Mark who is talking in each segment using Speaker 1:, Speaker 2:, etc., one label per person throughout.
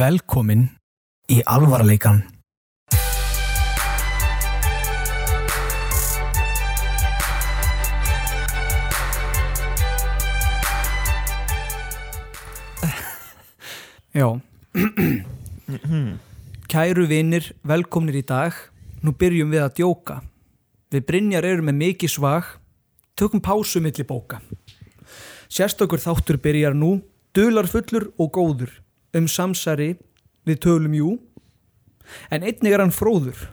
Speaker 1: Velkomin í alvarleikan.
Speaker 2: Já Kæru vinnir, velkomnir í dag Nú byrjum við að djóka Við Brynjar erum með mikið svag Tökum pásu milli bóka Sérstakur þáttur byrjar nú Dular fullur og góður Um samsari við tölum jú En einnig er hann fróður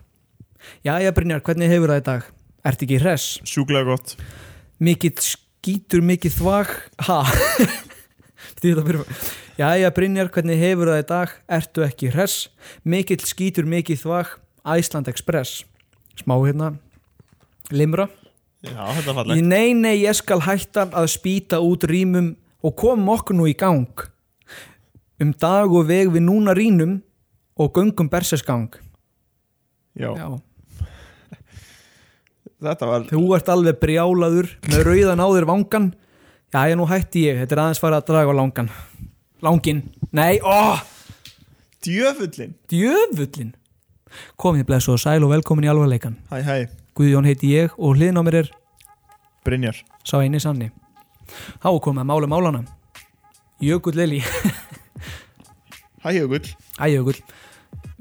Speaker 2: Jæja Brynjar, hvernig hefur það í dag? Ert ekki hress?
Speaker 3: Sjúklega gott
Speaker 2: Mikið skítur, mikið þvag Ha? Því þetta byrja Jæja Brynjar, hvernig hefur það í dag? Ertu ekki hress? Mikill skítur, mikið þvag Æsland Express Smá hérna Limra
Speaker 3: Já, þetta er
Speaker 2: Í
Speaker 3: fallegt
Speaker 2: nei, nei, ég skal hætta að spýta út rýmum Og komum okkur nú í gang Um dag og veg við núna rýnum Og göngum bersesgang
Speaker 3: Já,
Speaker 2: Já,
Speaker 3: þetta var
Speaker 2: þú ert alveg brjálaður Með rauðan á þér vangan Jæja, nú hætti ég, þetta er aðeins farið að draga á langan Langin, nei, óh
Speaker 3: djöfullin
Speaker 2: Djöfullin Komið blessu og sæl og velkomin í alvarleikan
Speaker 3: Hæ, hæ,
Speaker 2: Guðjón heiti ég og hliðin á mér er
Speaker 3: Brynjar
Speaker 2: sá eini sanni Há og komið að mála málana Jökull Lili
Speaker 3: Hæ, Jökull
Speaker 2: Æ Jökull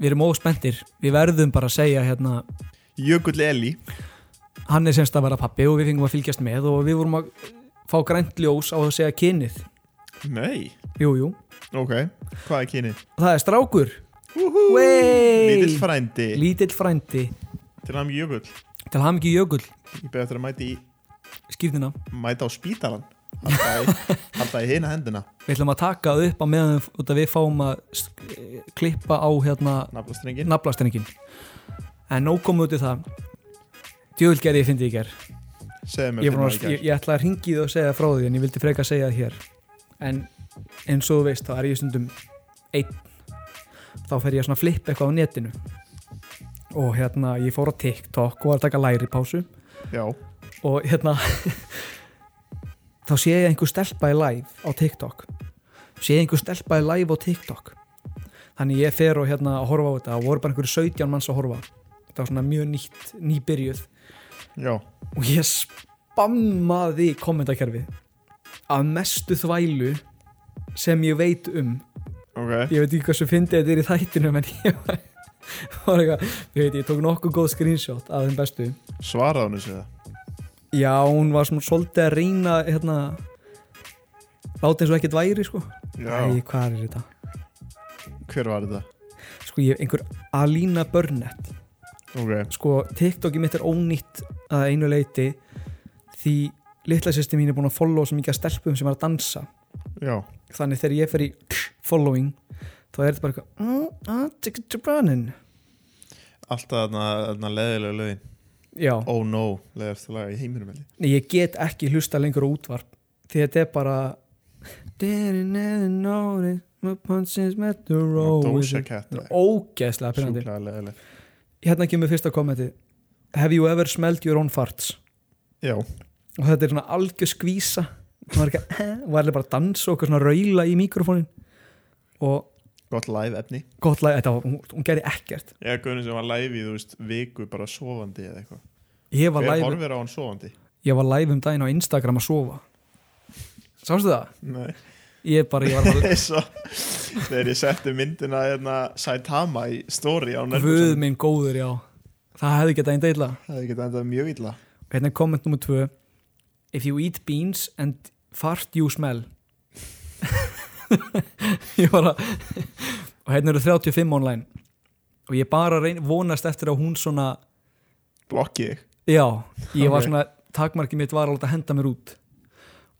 Speaker 2: Við erum óspendir Við verðum bara að segja hérna
Speaker 3: Jökull Eli
Speaker 2: Hann er semst að vera pappi og við fengum að fylgjast með og við vorum að fá grænt ljós á að segja kynið
Speaker 3: Nei
Speaker 2: Jú, jú
Speaker 3: Ok, hvað er kynið?
Speaker 2: Það er strákur
Speaker 3: Úhú Lítill
Speaker 2: Lítill
Speaker 3: frændi
Speaker 2: Lítill frændi
Speaker 3: Til hann Jökull
Speaker 2: Til ham ekki Jökull
Speaker 3: Ég beði eftir að mæta, í,
Speaker 2: Skýrðina
Speaker 3: mæta á spítalan Halda í, halda í hina hendina
Speaker 2: Við ætlum að taka það upp á meðan út að við fáum að sk- klippa á hérna
Speaker 3: Naflastrengin
Speaker 2: naflastenningin en nóg komið út í það djúvel gerði ég fyndi í ger
Speaker 3: Segðu mér
Speaker 2: ég,
Speaker 3: fyrir
Speaker 2: var,
Speaker 3: maður í
Speaker 2: ég,
Speaker 3: gær
Speaker 2: ég ætla að ringi þið og segja frá því en ég vildi freka að segja það hér en eins og þú veist þá er ég stundum einn þá fer ég að svona flippa eitthvað á netinu og hérna ég fór á TikTok og var að taka læri pásu
Speaker 3: Já,
Speaker 2: og hérna þá sé ég einhver stelpa í live á TikTok sé ég einhver stelpa í live á TikTok þannig ég fer og hérna að horfa á þetta og voru bara einhverju 17 manns að horfa þetta var svona mjög nýtt, nýbyrjuð
Speaker 3: já
Speaker 2: og ég spammaði kommentakerfið af mestu þvælu sem ég veit um
Speaker 3: Ok
Speaker 2: ég veit ekki hversu fyndið þetta er í þættinum en ég var, var eitthvað ég veit, ég tók nokkuð góð screenshot af þeim bestu
Speaker 3: Svaraði hann þessu það
Speaker 2: Já, hún var svona svolítið að reyna hérna láta eins og ekkert væri sko
Speaker 3: Já
Speaker 2: Æ, hvað er þetta?
Speaker 3: Hver var þetta?
Speaker 2: Sko ég hef einhver Alina Burnett
Speaker 3: Ok
Speaker 2: Sko TikTokið mitt er ónýtt að einu leiti því litla sýsti mín er búin að followa svo mikið að stelpum sem er að dansa
Speaker 3: Já
Speaker 2: þannig þegar ég fer í following þá er þetta bara eitthvað "Mm, ah, take it to Brennan
Speaker 3: Alltaf þarna, þarna leðilega lögin
Speaker 2: Já,
Speaker 3: Oh no, leðast að laga í heiminum held ég.
Speaker 2: Nei, ég get ekki hlusta lengur á útvarp því þetta er bara Didn't ever notice my punches met the road
Speaker 3: Doja Cat
Speaker 2: Þetta er ógeðslega pyrrandi
Speaker 3: Sjúklega leðilega
Speaker 2: hérna kemur fyrsta kommenti have you ever smelled your own farts
Speaker 3: Já
Speaker 2: og þetta er svona algjör skvísa og var ekki og var alveg bara að dansa og eitthvað svona raula í mikrofónin og
Speaker 3: gott live efni
Speaker 2: gott lag, þetta var, hún, hún gerði ekkert
Speaker 3: eða guðin sem var live í þú veist viku bara sofandi eða eitthvað
Speaker 2: ég var,
Speaker 3: hver
Speaker 2: live,
Speaker 3: horfir á hann sofandi
Speaker 2: ég var live um daginn á Instagram að sofa sástu það?
Speaker 3: nei
Speaker 2: ég bara, ég var bara
Speaker 3: svo þegar ég setti myndina hérna Saitama í story á
Speaker 2: Guð
Speaker 3: nörgum
Speaker 2: minn góður, já Það hefði getað einn deila
Speaker 3: það hefði getað endað mjög illa
Speaker 2: Hérna er komment nummer tvö If you eat beans and fart you smell Ég bara Og hérna eru 35 online Og ég bara reyn, vonast eftir að hún svona
Speaker 3: blokki ég
Speaker 2: Já, ég var
Speaker 3: Ok.
Speaker 2: svona Takmarkið mitt var að láta henda mér út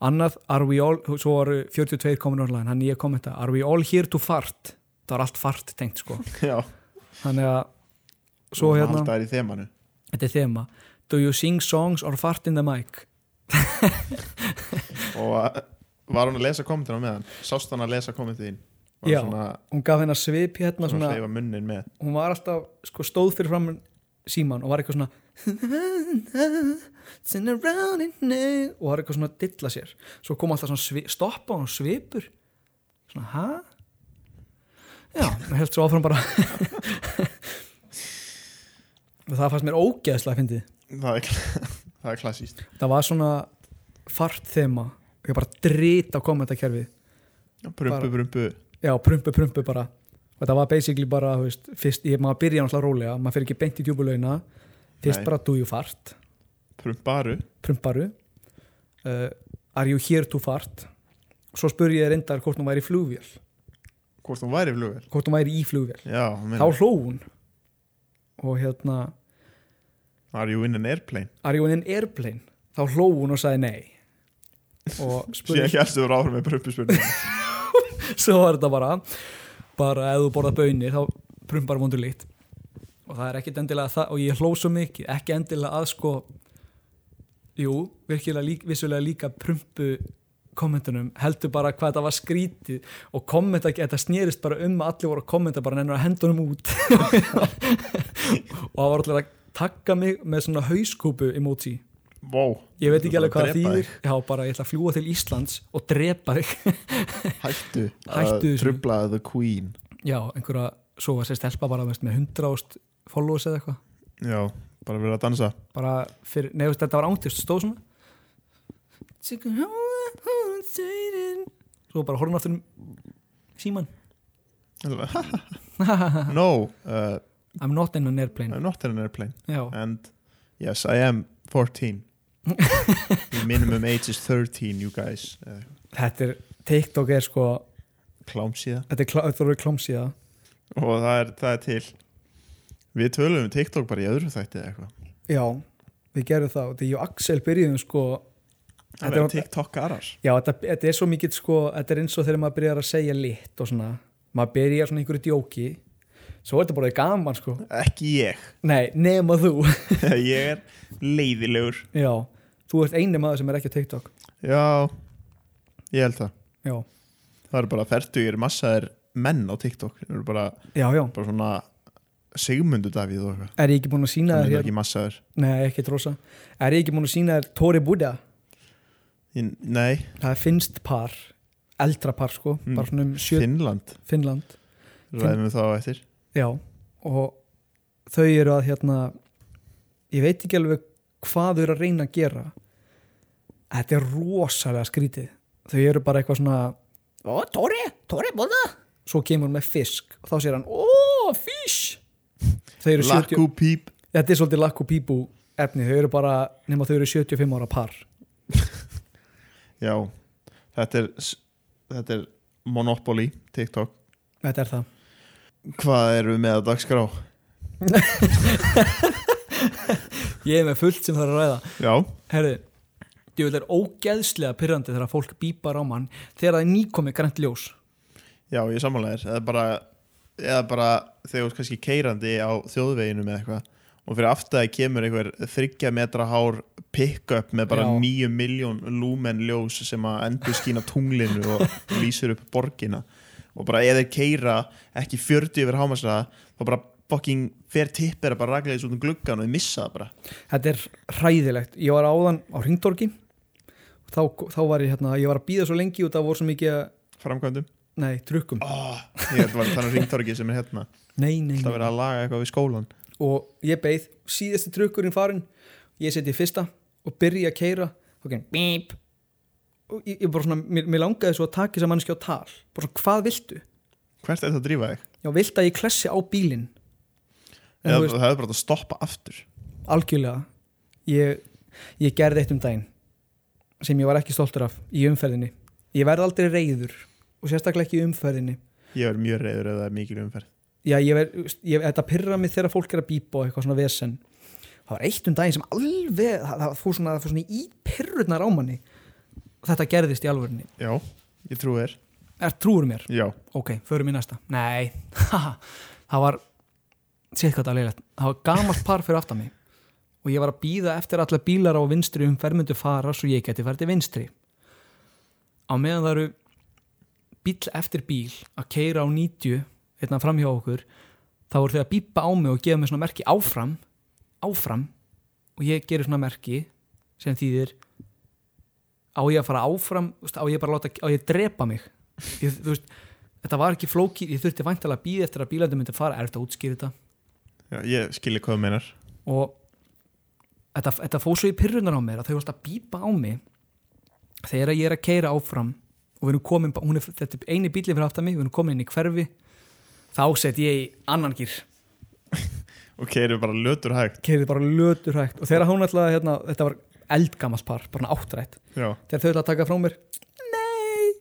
Speaker 2: Annað, are we all Svo var 42 komin online, hann ég kommenta Are we all here to fart Það var allt fart tengt sko
Speaker 3: já
Speaker 2: Þannig að Svo hérna
Speaker 3: alltaf er í þemanu
Speaker 2: Þetta er þema Do you sing songs or fart in the mic?
Speaker 3: og uh, var hún að lesa kommentina með hann sást hann að lesa kommentin var
Speaker 2: Já,
Speaker 3: hann svona
Speaker 2: Hún gaf hennar svip hérna
Speaker 3: svona
Speaker 2: svona,
Speaker 3: að hleyfa munnin með
Speaker 2: Hún var alltaf sko, stóð fyrir fram síman og var eitthvað svona Turn around and now og var eitthvað svona að dilla sér svo kom alltaf svona svi, stoppa hún svipur svona ha? Já, og held svo áfram bara og það fannst mér ógeðslega að fyndið
Speaker 3: það er, það er klassíst
Speaker 2: það var svona fart þema og ég bara drita á kommentakerfið
Speaker 3: Brumbu,
Speaker 2: Bara-
Speaker 3: brumbu
Speaker 2: já, prumpu, prumpu bara og það var basically bara, þú veist, fyrst ég, maður byrja náttúrulega rólega, maður fyrir ekki beint í djúbulauðina fyrst
Speaker 3: Nei.
Speaker 2: bara do you fart
Speaker 3: Prumbaru
Speaker 2: prumparu uh, are you here to fart svo spurði ég reyndar hvort hún væri í flugvél
Speaker 3: Hvort hún væri flugvél
Speaker 2: hvort hún væri í flugvél
Speaker 3: Já, hún
Speaker 2: þá
Speaker 3: meinar
Speaker 2: hló hún og hérna
Speaker 3: Are you in an airplane?
Speaker 2: are you in an airplane þá hló hún og sagði nei og
Speaker 3: Sér
Speaker 2: spurði
Speaker 3: ekki eftir þú ráður með prumbuspurning
Speaker 2: svo var þetta bara bara ef þú borða baunir þá prumpar vondur lit og það er ekkit endilega það og ég hló svo mikið, ekki endilega að sko jú, virkilega lík, vissulega líka prumpu kommentunum, heldur bara hvað þetta var skrítið og kommenta, þetta snerist bara um að allir voru að kommenta bara nennur að hendunum út og það var allir að takka mig með svona hauskúpu emoji
Speaker 3: Vó
Speaker 2: ég veit ekki alveg hvað það
Speaker 3: Drepa
Speaker 2: þýðir já, bara ég ætla að fljúa til Íslands og drepa þig
Speaker 3: þig. Hættu
Speaker 2: Hættu þessu.
Speaker 3: Trublaði the queen
Speaker 2: Já, einhverja, svo var sér stelpa bara veist, með 100 ást followers eða eitthvað
Speaker 3: Já, bara verið að dansa
Speaker 2: bara fyrir, nei, veist, þetta var ángtist stóð svona svo bara horfum aftur um síman
Speaker 3: No, uh,
Speaker 2: I'm not in an airplane
Speaker 3: I'm not in an airplane
Speaker 2: Já,
Speaker 3: And yes, I am 14 The minimum age is 13, you guys uh,
Speaker 2: þetta er, TikTok er sko
Speaker 3: Klámsíða
Speaker 2: þetta er, klá- þetta er klámsíða
Speaker 3: Og það er, það er til Við tölum um TikTok bara í öðru þætti eða eitthvað
Speaker 2: Já, við gerum það og því ég og Axel byrjuðum sko Þetta
Speaker 3: Það
Speaker 2: er
Speaker 3: verður
Speaker 2: á-
Speaker 3: TikTokarar
Speaker 2: Já, þetta, þetta er svo mikið sko, þetta er eins og þegar maður byrjar að segja lit og svona, maður byrjar svona í einhverju djóki, svo er þetta bara gaman sko,
Speaker 3: Ekki ég
Speaker 2: nei, nema þú
Speaker 3: Ég er leiðilegur
Speaker 2: Já, þú ert eini maður sem er ekki á TikTok
Speaker 3: Já, ég held það
Speaker 2: Já,
Speaker 3: Það eru bara færtugir massaðir menn á TikTok Það eru bara,
Speaker 2: já, já
Speaker 3: bara svona Sigmundur Davíð og eitthvað
Speaker 2: Er ég ekki búin að sína
Speaker 3: Það
Speaker 2: þér
Speaker 3: er
Speaker 2: hér?
Speaker 3: ekki massaður
Speaker 2: Nei, ekki trósa Er ég ekki búin að sína þér Tori Buddha?
Speaker 3: Ég, Nei,
Speaker 2: Það er finnst par, eldra par sko
Speaker 3: Mm.
Speaker 2: Bara svona um sjö
Speaker 3: Finnland
Speaker 2: Finnland
Speaker 3: Ræðum við það á eftir
Speaker 2: Já, og þau eru að hérna Ég veit ekki alveg hvað þau eru að reyna að gera Þetta er rosalega skrítið Þau eru bara eitthvað svona Ó, Tori, Tori Buddha Svo kemur hún með fisk og þá sér hann Ó, fish Þau eru 70
Speaker 3: Lakku Píp
Speaker 2: þetta er svolítið lakk og pípu efni, þau eru bara, nema þau eru 75 ára par
Speaker 3: Já, þetta er, s- þetta er Monopoly TikTok
Speaker 2: þetta er það
Speaker 3: Hvað erum við með að dagskrá?
Speaker 2: ég er með fullt sem það er að ræða
Speaker 3: Já,
Speaker 2: herri, djúvel er ógeðslega pyrrandi þegar fólk bípar á mann þegar það er nýkomi grænt ljós
Speaker 3: já, ég samanlega er eða bara, eða bara þegar þú ert kannski keirandi á þjóðveginu með eitthvað og fyrir aftaði kemur einhver þryggja metra hár pick-up með bara
Speaker 2: Já.
Speaker 3: 9 miljón lúmen ljós sem að endur skína tunglinu og lýsir upp borgina og bara eða keira ekki 40 yfir hámasraða þá bara fucking fer tippir að bara ragleis út um gluggan og þið missa það bara
Speaker 2: þetta er hræðilegt, ég var áðan á hringdorki þá, þá var ég hérna, ég var að býða svo lengi og það voru svo mikið að-
Speaker 3: framkvæmdum
Speaker 2: nei, trukkum
Speaker 3: oh, ég held að það var þannig ringtorgi sem er hérna
Speaker 2: nei, nei,
Speaker 3: það
Speaker 2: nei.
Speaker 3: verið að laga eitthvað við skólan
Speaker 2: og ég beið síðasti trukkurinn farin ég seti í fyrsta og byrja að keira þá gengur bíp og ég, ég bara svona, mér, mér langaði svo að taka þess að mannskja á tal bara svona, hvað viltu?
Speaker 3: hvert er það að drífa þig?
Speaker 2: Já, viltu að ég klessi á bílinn? En
Speaker 3: Eða,
Speaker 2: þú
Speaker 3: það hefur bara átt að stoppa aftur
Speaker 2: algjörlega ég, ég gerði eitt um daginn sem ég var ekki stoltur af í umferðinni ég verð aldrei reyður og sérstaklega ekki í umferðinni
Speaker 3: Ég er mjög reyður ef það er mikil umferð
Speaker 2: já, ég verð, ég, þetta pyrra mig þegar fólk er að bípa og eitthvað svona vesen það var eitt um daginn sem alveg það, það fór svona, það fór svona í pyrrurnar á manni þetta gerðist í alvörinni
Speaker 3: Já, ég trú þér
Speaker 2: er trúur mér,
Speaker 3: Já,
Speaker 2: ok, förum í næsta nei, haha, það var sétt hvað það er leilægt það var gamalt par fyrir aftan mig og ég var að býða eftir alla bílar á vinstri um fermyndu fara svo ég geti verið til vinstri á meðan það eru bíl eftir bíl að keira á 90 hérna fram hjá okkur þá voru þau að bípa á mig og gefa mér svona merki áfram áfram og ég gerir svona merki sem þýðir á ég að fara áfram þú veist, á ég bara að láta, á ég að drepa mig ég, þú veist, þetta var ekki flókið, ég þurfti væntalega að býða eftir að bílandum myndi fara, er þetta að útskýra þetta
Speaker 3: Já, ég skilja hvað þú meinar
Speaker 2: og þetta, þetta fór svo í pyrrunar á mér að þau var alltaf að bípa á mig þegar ég er að keira áfram og við erum komin, bara- hún er, þetta er eini bílinn fyrir aftan mig, við erum komin inn í hverfi þá set ég í annan gýr
Speaker 3: og keirir bara lötur hægt
Speaker 2: keirði bara lötur hægt og þegar hún ætlaði, hérna, þetta var eldgamalt par, bara áttrætt
Speaker 3: Já,
Speaker 2: þegar þau ætlaði að taka frá mér nei,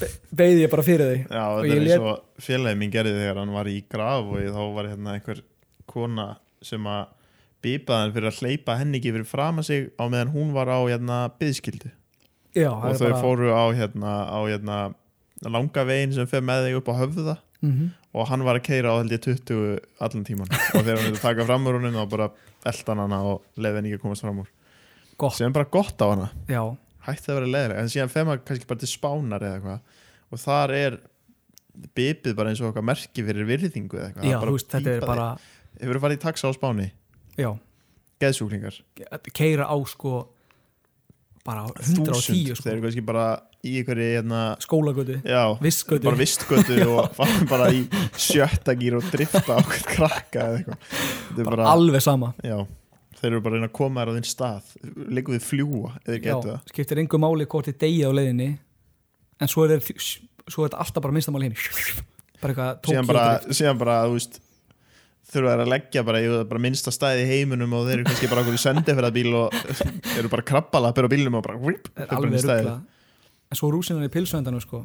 Speaker 2: Be beigði ég bara fyrir þau
Speaker 3: Já
Speaker 2: Og
Speaker 3: þetta
Speaker 2: ég
Speaker 3: er
Speaker 2: lét-
Speaker 3: eins og félagið minn gerði þegar hann var í graf og þá var hérna einhver kona sem að bípaði hann fyrir að hleypa henni ekki fyrir fram að sig á meðan hún var á hérna byðskildu
Speaker 2: Já, það
Speaker 3: og
Speaker 2: er
Speaker 3: þau
Speaker 2: bara-
Speaker 3: fóru á hérna, á hérna langa veginn sem fer með þig upp á höfða
Speaker 2: Mhm.
Speaker 3: og hann var að keira á held ég 20 allan tíman og þegar hann hefði taka fram úr honum þá bara eldan hana og leiði henni ekki að komast fram úr
Speaker 2: Gott.
Speaker 3: sem er bara gott á hana
Speaker 2: Já,
Speaker 3: hætti að vera leiðileg en síðan fer maður kannski bara til spánar eða eitthvað og þar er bipið bara eins og okkar merki fyrir virðingu eða eitthvað
Speaker 2: já
Speaker 3: Bara
Speaker 2: þú veist, þetta er
Speaker 3: bípa
Speaker 2: bara
Speaker 3: þig. hefur farið í taxa á spáni,
Speaker 2: já,
Speaker 3: geðsúklingar
Speaker 2: keira á sko bara á 110
Speaker 3: þúsund, þeir
Speaker 2: sko,
Speaker 3: eru kannski bara í einhverju hérna,
Speaker 2: skólagötu
Speaker 3: já,
Speaker 2: Vistgötu.
Speaker 3: bara vistgötu og farin bara í sjötta gýr og drifta á hvern krakka eða eitthvað Þetta er
Speaker 2: bara, alveg sama
Speaker 3: já, þeir eru bara að reyna að koma þær á þinn stað liggur við fljúa, eða
Speaker 2: já,
Speaker 3: getur það
Speaker 2: skiptir engu máli hvort þið degja á leiðinni en svo er, þeir- svo er þetta alltaf bara minnstamáli henni bara eitthvað
Speaker 3: síðan
Speaker 2: tók
Speaker 3: bara, síðan bara, þú veist þurfa þær að leggja bara, ég veit, bara minnsta stæði í heiminum og þeir eru kannski bara okkur í sendiferðabíl og eru bara krabbalappir á bílnum og bara vrip,
Speaker 2: er alveg ruggla en svo rúsinan í pilsvendanu sko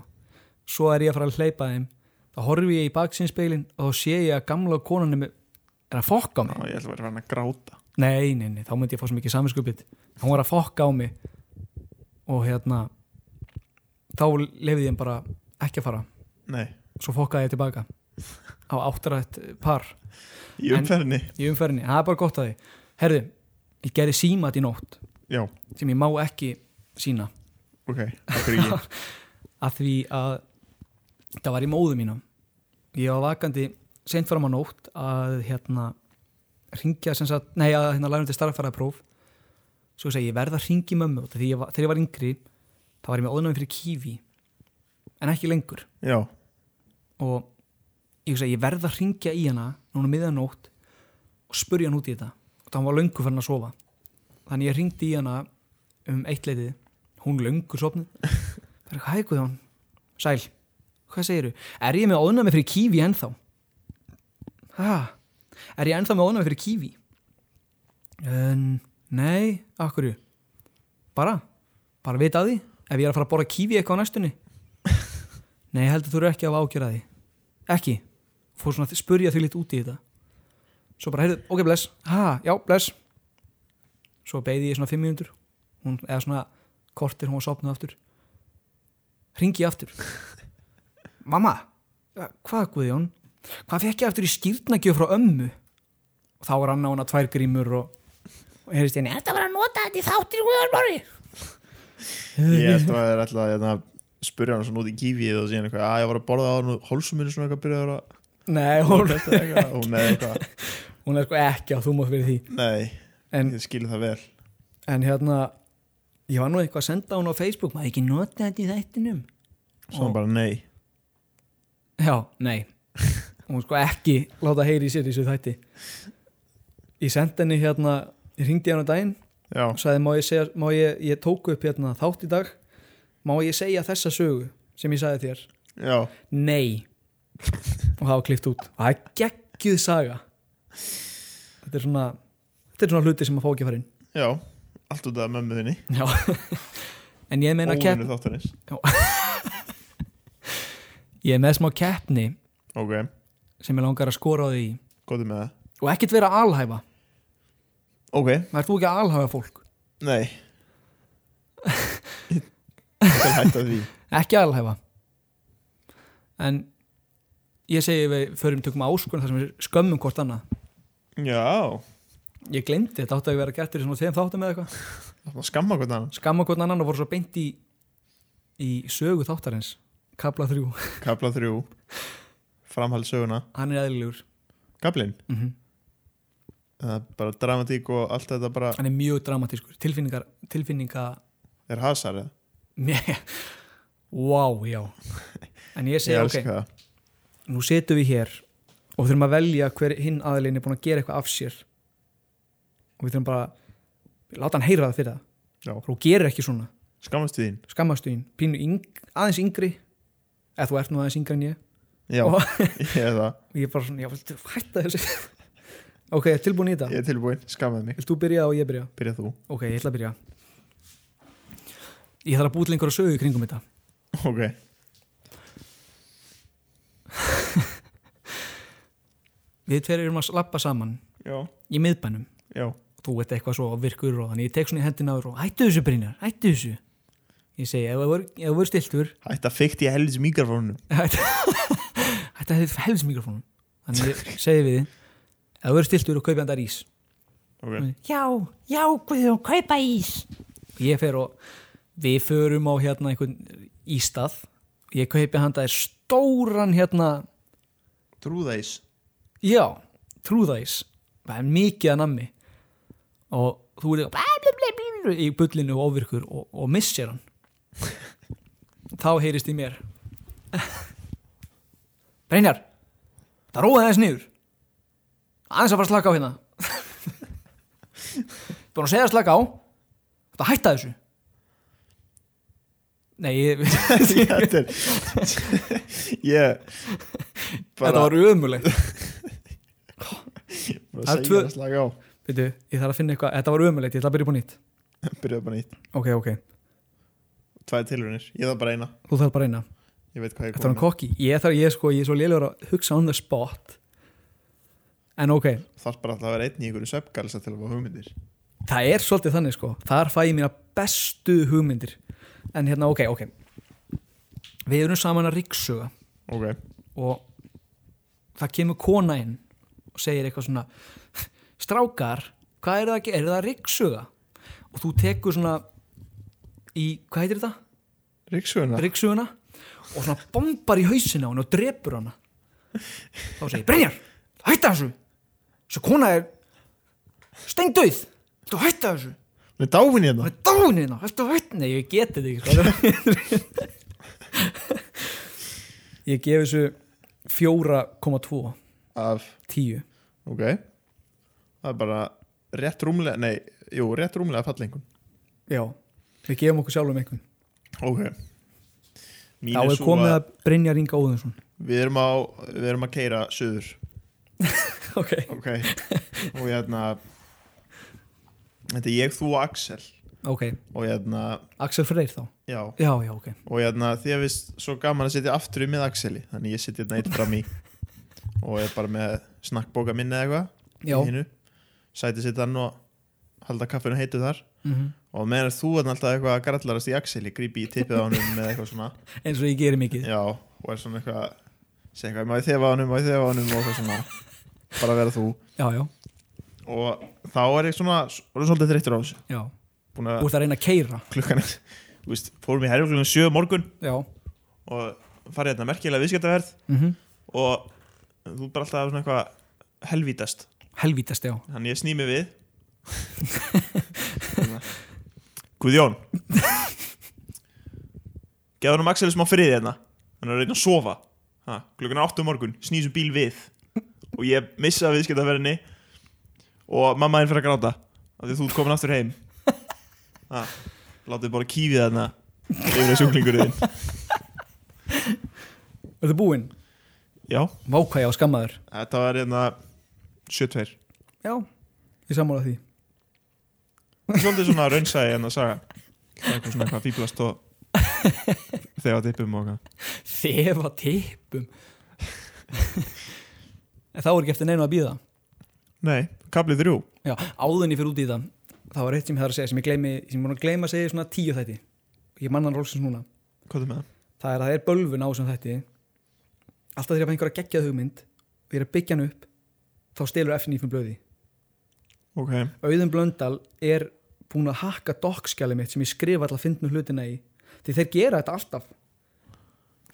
Speaker 2: svo er ég að fara að hleypa þeim þá horfi ég í baksinspeilin og þá sé ég að gamla konan er með- er að fokka á mig
Speaker 3: og ég ætla bara að vera hann að gráta
Speaker 2: nei, nei, nei, þá myndi ég fá svo mikið saminskupið hún var að fokka á mig og hérna þá lefði ég þeim bara ekki að fara
Speaker 3: nei,
Speaker 2: svo fokkaði ég tilbaka á áttarætt par
Speaker 3: í
Speaker 2: En-
Speaker 3: umferðinni,
Speaker 2: í umferðinni, það er bara gott að því herðu, ég gerði símat í nótt
Speaker 3: já,
Speaker 2: sem ég má ekki sína
Speaker 3: ok okkur ekki,
Speaker 2: að því að það var í móðu mínu ég var vakandi seint fram á nótt að hérna ringja sem sagt, nei að hérna lærandi starffæraðpróf svo ég segi ég verð að ringi mömmu út af því ég var, þegar ég var yngri þá var ég með óðnæmi fyrir kífi en ekki lengur
Speaker 3: já
Speaker 2: og ég, hugsaði, ég verð að ringja í hana núna miðanótt og spurja hann út í þetta og það var löngu fyrir hann að sofa þannig ég ringdi í hana um eitt leitið hún löngu sopnið það er eitthvað hæguð hún sæl, hvað segiru? Er ég með óðnami fyrir kífi ennþá? Ha? Er ég ennþá með óðnami fyrir kífi? En, nei, akkurju bara, bara vita að því ef ég er að fara að borra kífi eitthvað á næstunni Nei, ég held að þú eru ekki að hafa ágjörði Ekki Fór svona að spurja þau litt út í þetta Svo bara, heyrðu, ok, bless Ha, já, bless Svo beigði ég svona fimm mínútur hún, Eða svona kortir, hún var sopnuð aftur Ringi ég aftur Mamma "Ja, Hvað, Guðjón? Hvað fekk ég aftur í skýrnagjöf frá ömmu? Og þá rann á hana tvær grímur og, og heyrðist henni, þetta var að nota þetta í þáttir Guðjón Mári
Speaker 3: ég held að þeir ætla að hérna, spurja hann svona út í kífið og síðan eitthvað, að ég var að borða á hann og hálsuminu svona eitthvað byrjaður að
Speaker 2: Nei, hún,
Speaker 3: Þetta eitthvað, og hún eða eitthvað,
Speaker 2: hún er sko ekki að þú mátt fyrir því
Speaker 3: nei,
Speaker 2: En
Speaker 3: ég skil það vel
Speaker 2: en hérna ég var nú eitthvað að senda hún á Facebook maður ekki nota þetta í þættinum
Speaker 3: svo hann bara, nei,
Speaker 2: já, nei hún sko ekki láta heyri í sér í þessu þætti ég sendi henni hérna ég ringdi hann á daginn
Speaker 3: já,
Speaker 2: og sagði má ég segja, má ég, ég tók upp hérna þátt í dag má ég segja þessa sögu sem ég sagði þér
Speaker 3: já
Speaker 2: nei og það var klift út og það er geggjuð saga þetta er svona þetta er svona hluti sem maður fá ekki að fara inn
Speaker 3: já, allt út af mömmu þinni
Speaker 2: já en ég meina kepp
Speaker 3: óvinnu þáttanins,
Speaker 2: ég er með smá keppni
Speaker 3: ok,
Speaker 2: sem ég langar að skora á því
Speaker 3: góðu með það
Speaker 2: og ekkert vera að alhæfa
Speaker 3: Ok,
Speaker 2: verður þú ekki að alhæfa fólk
Speaker 3: nei Ég skal hætta því
Speaker 2: ekki að alhæfa en ég segi við förum tökum áskurinn þar sem við skömmum hvort annað
Speaker 3: Já,
Speaker 2: ég glemdi þetta átti að vera gert í svona þeim þáttum eða eitthvað
Speaker 3: það var skamma hvernig hann
Speaker 2: skamma hvort annan og voru svo beint í í sögu þáttarins kabla þrjú,
Speaker 3: Kapla þrjú Framhaldssöguna
Speaker 2: hann er eðlilegur
Speaker 3: Kaplinn
Speaker 2: mm
Speaker 3: Það er bara dramatík og allt þetta bara
Speaker 2: hann er mjög dramatískur tilfinningar, tilfinninga
Speaker 3: Er hasar eða?
Speaker 2: wow, já en ég
Speaker 3: Ég
Speaker 2: segi ok,
Speaker 3: elska það.
Speaker 2: nú setjum við hér og þurfum að velja hver hinn aðilin er búin að gera eitthvað af sér og við þurfum bara láta hann heyra það fyrir það
Speaker 3: Já.
Speaker 2: þú gerir ekki svona,
Speaker 3: Skammast þín
Speaker 2: skammastu þín pínu yng, aðeins yngri eða þú ert nú aðeins yngri en ég
Speaker 3: Já,
Speaker 2: Og-
Speaker 3: ég er það,
Speaker 2: og ég bara svona, já, viltu hætta þessu ok, tilbúin í þetta
Speaker 3: ég er tilbúinn, skammað mig
Speaker 2: vilt þú byrja og ég byrja
Speaker 3: Byrja þú,
Speaker 2: ok, ég ætla að byrja ég þarf að búið lengur að sögu í kringum þetta
Speaker 3: ok
Speaker 2: við tveir erum að lappa saman
Speaker 3: Já,
Speaker 2: í miðbænum
Speaker 3: já,
Speaker 2: þú ert eitthvað svo virkur og þannig ég tek svona í hendina á þér og hættu þessu Brynjar, hættu þessu ég segi, ef þú er- ef þú verður stiltur
Speaker 3: hætt að fykti ég helvits mikrofónum
Speaker 2: hættu að þið helst mikrofónum þannig ég segi við þið ef þú verður stiltur og kaupi hann þar ís
Speaker 3: Ok,
Speaker 2: já, já, Guðjón, kaupa ís ég fer og við förum á hérna einhvern ístað ég kaupi hann þar stóran hérna
Speaker 3: trúðæs
Speaker 2: Já, trúðæs Það er mikið að nammi og þú er eitthvað í bullinu og ofvirkur og, og missir hann þá heyrist í mér Brynjar það róið aðeins niður aðeins að fara að slaka á hérna búin að segja að slaka á þetta hætta þessu Nei, ég,
Speaker 3: Þetta er Ég
Speaker 2: þetta var ömulegt
Speaker 3: bara
Speaker 2: það er
Speaker 3: segja
Speaker 2: tvö-
Speaker 3: að slaka á
Speaker 2: Veitu, ég þarf að finna eitthvað, þetta var ömulegt, ég ætla að byrja upp á nýtt
Speaker 3: Byrjaðu bara nýtt,
Speaker 2: Ok, ok,
Speaker 3: tvær tilhörunir Ég þarf bara eina,
Speaker 2: þú þarf bara að reyna
Speaker 3: ég veit hvað ég
Speaker 2: Þetta var hann
Speaker 3: kom
Speaker 2: kokki, ég þarf, ég sko, ég er svo lélegur að hugsa on the spot En ok,
Speaker 3: Þarf bara alltaf að vera einn í einhverju söpgalsa til að fá hugmyndir
Speaker 2: það er svolítið þannig sko Þar fæ ég mína bestu hugmyndir En hérna, ok, ok Við erum saman að ríksuga
Speaker 3: Ok,
Speaker 2: Og það kemur kona inn Og segir eitthvað svona Strákar, hvað er það að gera? Er það að ríksuga? Og þú tekur svona Í, hvað heitir þetta?
Speaker 3: ríksuguna
Speaker 2: ryggsuguna og svona bombar í hausin á hann og drepur hana þá segir Brynjar, hætta þessu þessu kona er steindauð, þú hætta þessu
Speaker 3: Hún er dáin
Speaker 2: hún
Speaker 3: hérna
Speaker 2: er dánina, hætta hætta nei, ég geti þetta ekki sko. ég gef þessu 4,2
Speaker 3: Af,
Speaker 2: 10
Speaker 3: ok Það er bara rétt rúmlega, nei, jú, rétt rúmlega fallengun
Speaker 2: já, við gefum okkur sjálfum einhvern
Speaker 3: Ok Mín
Speaker 2: þá er
Speaker 3: sú
Speaker 2: komið að Brynjar Inga Óðinsson
Speaker 3: Við erum, á, við erum að keira söður
Speaker 2: ok,
Speaker 3: ok og hérna þetta er ég, þú og Axel
Speaker 2: ok,
Speaker 3: og hérna,
Speaker 2: Axel Freyr þá
Speaker 3: já
Speaker 2: já, já, ok,
Speaker 3: og hérna, því að við svo gaman að setja aftur í með Axeli, þannig ég setja hérna eitt fram í og er bara með snakkbóka minni eða
Speaker 2: já
Speaker 3: eitthvað í hinu. sæti sitt hann og halda kaffinu heitu þar
Speaker 2: mhm.
Speaker 3: og meðan þú er alltaf eitthvað að grallarast í Axeli grípi í tippið á hann með eitthvað svona
Speaker 2: eins og ég gerir mikið
Speaker 3: já, og er svona eitthvað segja eitthvað, má ég þefa á hann, má ég þefa á hann og eitthvað svona, bara vera þú
Speaker 2: já, já,
Speaker 3: og þá er ég svona, orðinn svolítið þreyttur á þessu
Speaker 2: já
Speaker 3: búin að
Speaker 2: Þú ert að reyna að keira
Speaker 3: klukkan er- þú veist, fórum í herjum klukkan 7 morgun
Speaker 2: Já
Speaker 3: og farið hérna merkilega viðskiptaverð
Speaker 2: Mhm.
Speaker 3: og þú er bara alltaf svona eitthvað helvítast
Speaker 2: Helvítast, já
Speaker 3: þannig ég snými við Hérna. Guðjón gefur hann Axel smá frið hérna hann er að reyna að sofa ha, klukkan er 8 um morgun, snýsum bíl við og ég missa viðskiptaverðinni og mamma þín fyrir að gráta af því að þú ert komin aftur heim ha, látið bara kífið þarna yfir að sjúklingurinn þinn.
Speaker 2: Er þið búinn?
Speaker 3: já,
Speaker 2: Vákvæði á skammaður
Speaker 3: þetta var hérna 72
Speaker 2: Já Ég sammála því
Speaker 3: svolítið svona raunsæði en að saga Það er eitthvað svona eitthvað fýblast og þegar tippum og eitthvað
Speaker 2: Þefa tippum En þá er ekki eftir neina að býða
Speaker 3: nei, kaplið þrjú
Speaker 2: Já, áðunni fyrir út í það Það var eitt sem ég þarf að segja sem ég gleymi sem ég búin að gleyma að segja í svona tíu þætti Ég manna hann rólsins núna
Speaker 3: hvað er með það?
Speaker 2: Það er að það er bölvun á þessum þætti Alltaf þegar ég fæ einhverja geggjað hugmynd og ég er að byggja hann upp þá stelur F9 blöði
Speaker 3: ok,
Speaker 2: Auðun Blöndal er búin að hakka dokkskjali mitt sem ég skrifa alltaf fyndnu hlutina í því þeir gera þetta alltaf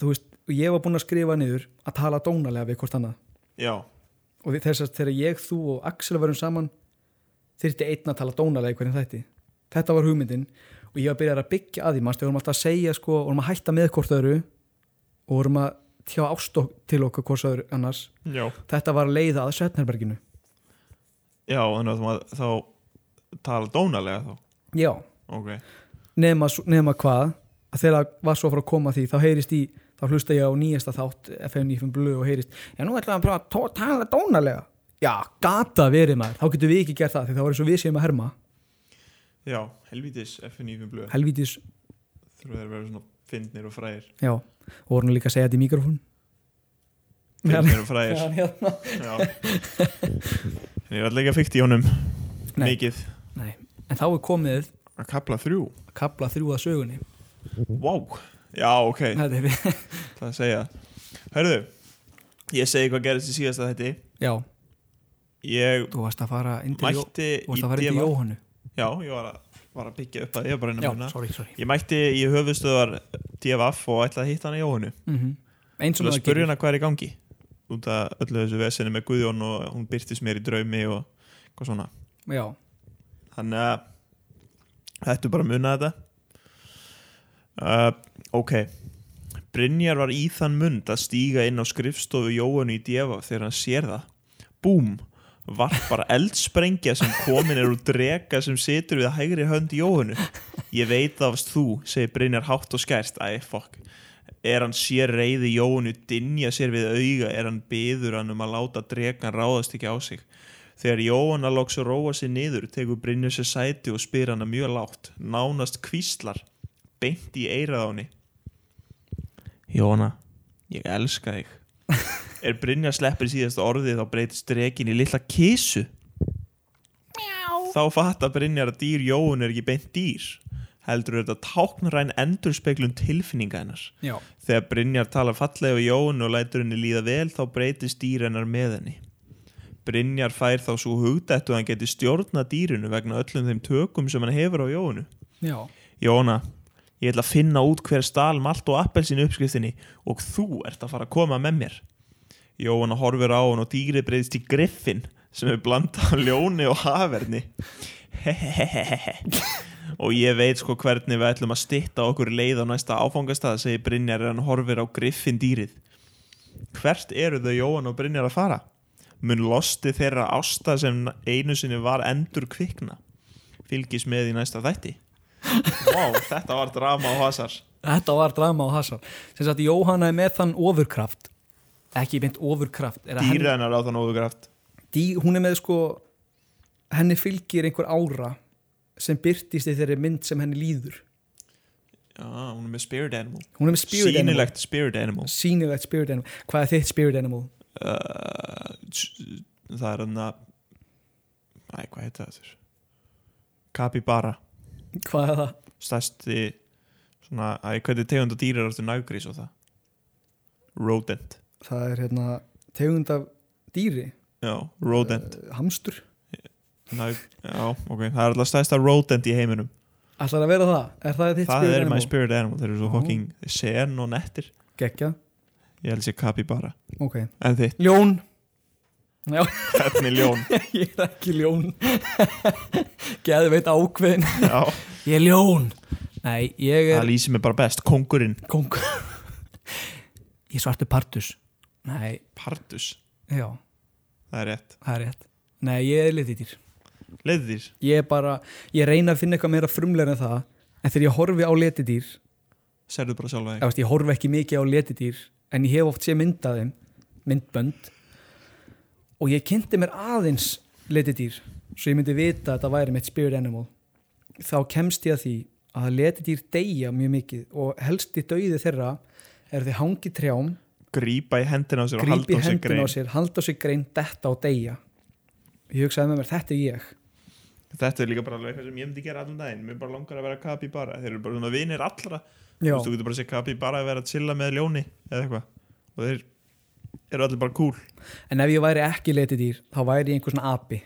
Speaker 2: þú veist, og ég var búin að skrifa niður að tala dónalega við hvort annað
Speaker 3: já,
Speaker 2: og þess að þegar ég, þú og Axel varum saman þyrfti einn að tala dónalega í hverjum þætti þetta var hugmyndin og ég var að byrja að byggja að því mannstu, við vorum alltaf að segja sko, vorum að hætta með hvort öðru og vorum að tjá ástokk til okkur hvorsaður annars
Speaker 3: já,
Speaker 2: þetta var að leiða að Svetnerberginu
Speaker 3: já þannig að maður þá tala dónalega þá
Speaker 2: já,
Speaker 3: ok,
Speaker 2: nema, s- nema hvað að þegar var svo að fara að koma að því þá heyrist í, þá hlusta ég á nýjasta þátt FM 95 Blue og heyrist já, nú ætlaðum að prófa að tó- tala dónalega já, gata verið maður, þá getum við ekki gert það því þá var eins og við séum að herma
Speaker 3: já, helvítis FNÍFum blöð
Speaker 2: helvítis,
Speaker 3: þurfa þeir að vera svona fyndnir og frægir
Speaker 2: já og vorum líka að segja þetta í mikrofón
Speaker 3: fyndnir og frægir
Speaker 2: Meðan- hérna.
Speaker 3: já en ég var allega fyrkt í honum
Speaker 2: Nei.
Speaker 3: mikið
Speaker 2: Nei, en þá er komið
Speaker 3: að kapla þrjú,
Speaker 2: kapla þrjú að sögunni
Speaker 3: wow já, ok,
Speaker 2: þetta er við,
Speaker 3: það að segja hörðu, ég segi hvað gerðist í síðasta þetta
Speaker 2: já,
Speaker 3: ég
Speaker 2: þú varst að fara inn til, Jó,
Speaker 3: mætti
Speaker 2: þú varst að fara inn til
Speaker 3: DV.
Speaker 2: Jóhannu
Speaker 3: já, ég var að, var að byggja upp að ég var bara inn
Speaker 2: já,
Speaker 3: að muna
Speaker 2: sorry, sorry
Speaker 3: Ég mætti í höfuðstöðar DFF og ætlaði að hitta hana Jóhannu
Speaker 2: mm eins
Speaker 3: til
Speaker 2: og
Speaker 3: að
Speaker 2: maður
Speaker 3: spurja
Speaker 2: gerir
Speaker 3: hana hvað er í gangi út af öllu þessu vesinu með Guðjón og hún byrtist mér í draumi og hvað svona
Speaker 2: já,
Speaker 3: þannig að þetta er bara að muna þetta uh, ok Brynjar var í þann mund að stíga inn á skrifstofu Jóhannu í DFF þegar hann sér það búm varpar eldsprengja sem komin er úr drega sem situr við hægri hönd Jóhannu ég veit það varst þú segir Brynjar hátt og skært æ, fokk er hann sér reyði Jóhannu dinja sér við auga er hann byður hann um að láta dregan ráðast ekki á sig þegar Jóhanna loks að róa sér niður tekur Brynjar sér sæti og spyr hana mjög lágt nánast kvíslar beint í eirað á henni Jóhanna ég elska þig er Brynjar sleppir síðast orðið þá breytist drekin í litla kísu þá fattar Brynjar að dýr Jóhann er ekki beint dýr heldur er þetta táknræn endurspeglun tilfinninga hennar
Speaker 2: já,
Speaker 3: Þegar Brynjar talar fallega við Jón og lætur henni líða vel þá breytist dýrennar með henni. Brynjar fær þá svo hugdættu að hann geti stjórna dýrinu vegna öllum þeim tökum sem hann hefur á Jónu.
Speaker 2: já,
Speaker 3: Jóna, ég ætla að finna út hver stal malt og appelsinu uppskriftinni og þú ert að fara að koma með mér. Jóna horfir á hann og dýrið breyðist í griffin sem er blandað af ljóni og haferni. Hehehehe. og ég veit sko hvernig við ætlum að stitta okkur leið á næsta áfangastað, segir Brynjar en hann horfir á griffin dýrið. Hvert eru þau Jóhann og Brynjar að fara? Mun losti þeirra ásta sem einu sinni var endur kvikna? Fylgis með í næsta þætti. Vá, þetta var drama og hasar
Speaker 2: þetta var drama og hasar sem sagt Jóhanna er með þann ofurkraft ekki beint ofurkraft er að
Speaker 3: Dýra hennar á þann óðugraft
Speaker 2: henni, dý, hún er með sko henni fylgir einhver ára sem byrtist í þeirri mynd sem henni líður
Speaker 3: Já, hún er með spirit animal
Speaker 2: hún er með spirit animal
Speaker 3: Sýnilegt spirit animal
Speaker 2: sýnilegt spirit animal, hvað er þitt spirit animal
Speaker 3: uh, s- Það er hann að Æ, hvað heita það þurr? Kapibara
Speaker 2: hvað er það,
Speaker 3: Stærsti Svona, æ, hvernig tegund og dýrar áttu nægrís og það Rodent
Speaker 2: það er hérna tegund af dýri
Speaker 3: Já, rodent
Speaker 2: uh, hamstur,
Speaker 3: Næg, Já, ok, það er alltaf stærsta rodent í heiminum
Speaker 2: ætlar að vera það er það þitt
Speaker 3: Það
Speaker 2: spirit
Speaker 3: er my
Speaker 2: animal,
Speaker 3: spirit animal Þeir eru svo
Speaker 2: Já.
Speaker 3: fucking sen og nettir
Speaker 2: geggja,
Speaker 3: Ég held sér kapibara
Speaker 2: ok
Speaker 3: En þitt,
Speaker 2: ljón já
Speaker 3: hvernig ljón
Speaker 2: ég er ekki ljón geðu veit ákveðin
Speaker 3: Já
Speaker 2: ég er ljón nei, ég
Speaker 3: Það
Speaker 2: er
Speaker 3: lýsir mig bara best, kongurinn
Speaker 2: kong ég er svartu partus nei,
Speaker 3: Partus,
Speaker 2: já,
Speaker 3: það er rétt
Speaker 2: það er rétt nei, ég er litið dýr
Speaker 3: Leðir,
Speaker 2: ég er bara, ég reyna að finna eitthvað meira frumlega en það en þegar ég horfi á letidýr
Speaker 3: sérðu bara sjálfa
Speaker 2: ég,
Speaker 3: þig
Speaker 2: veist, ég horfi ekki mikið á letidýr en ég hef oft sé myndaðum myndbönd og ég kynnti mér aðeins letidýr svo ég myndi vita að þetta væri mitt spirit animal þá kemst ég að því að letidýr deyja mjög mikið og helsti dauði þeirra er þið hangi trjám
Speaker 3: Grípa í hendina á sér og halda
Speaker 2: grípi
Speaker 3: á sér
Speaker 2: hendin
Speaker 3: grein
Speaker 2: á sér, halda á sér grein detta og deyja ég hugsaði með mér, þetta er ég
Speaker 3: Þetta er líka bara alveg eitthvað sem ég myndi gera allan daginn Mér bara langar að vera kapi bara Þeir eru bara svona vinir allra Þú
Speaker 2: Já,
Speaker 3: veist, Þú getur bara að segja kapi bara að vera að chilla með ljóni eða eitthvað Og þeir eru allir bara cool
Speaker 2: en ef ég væri ekki letidýr þá væri ég einhver svona api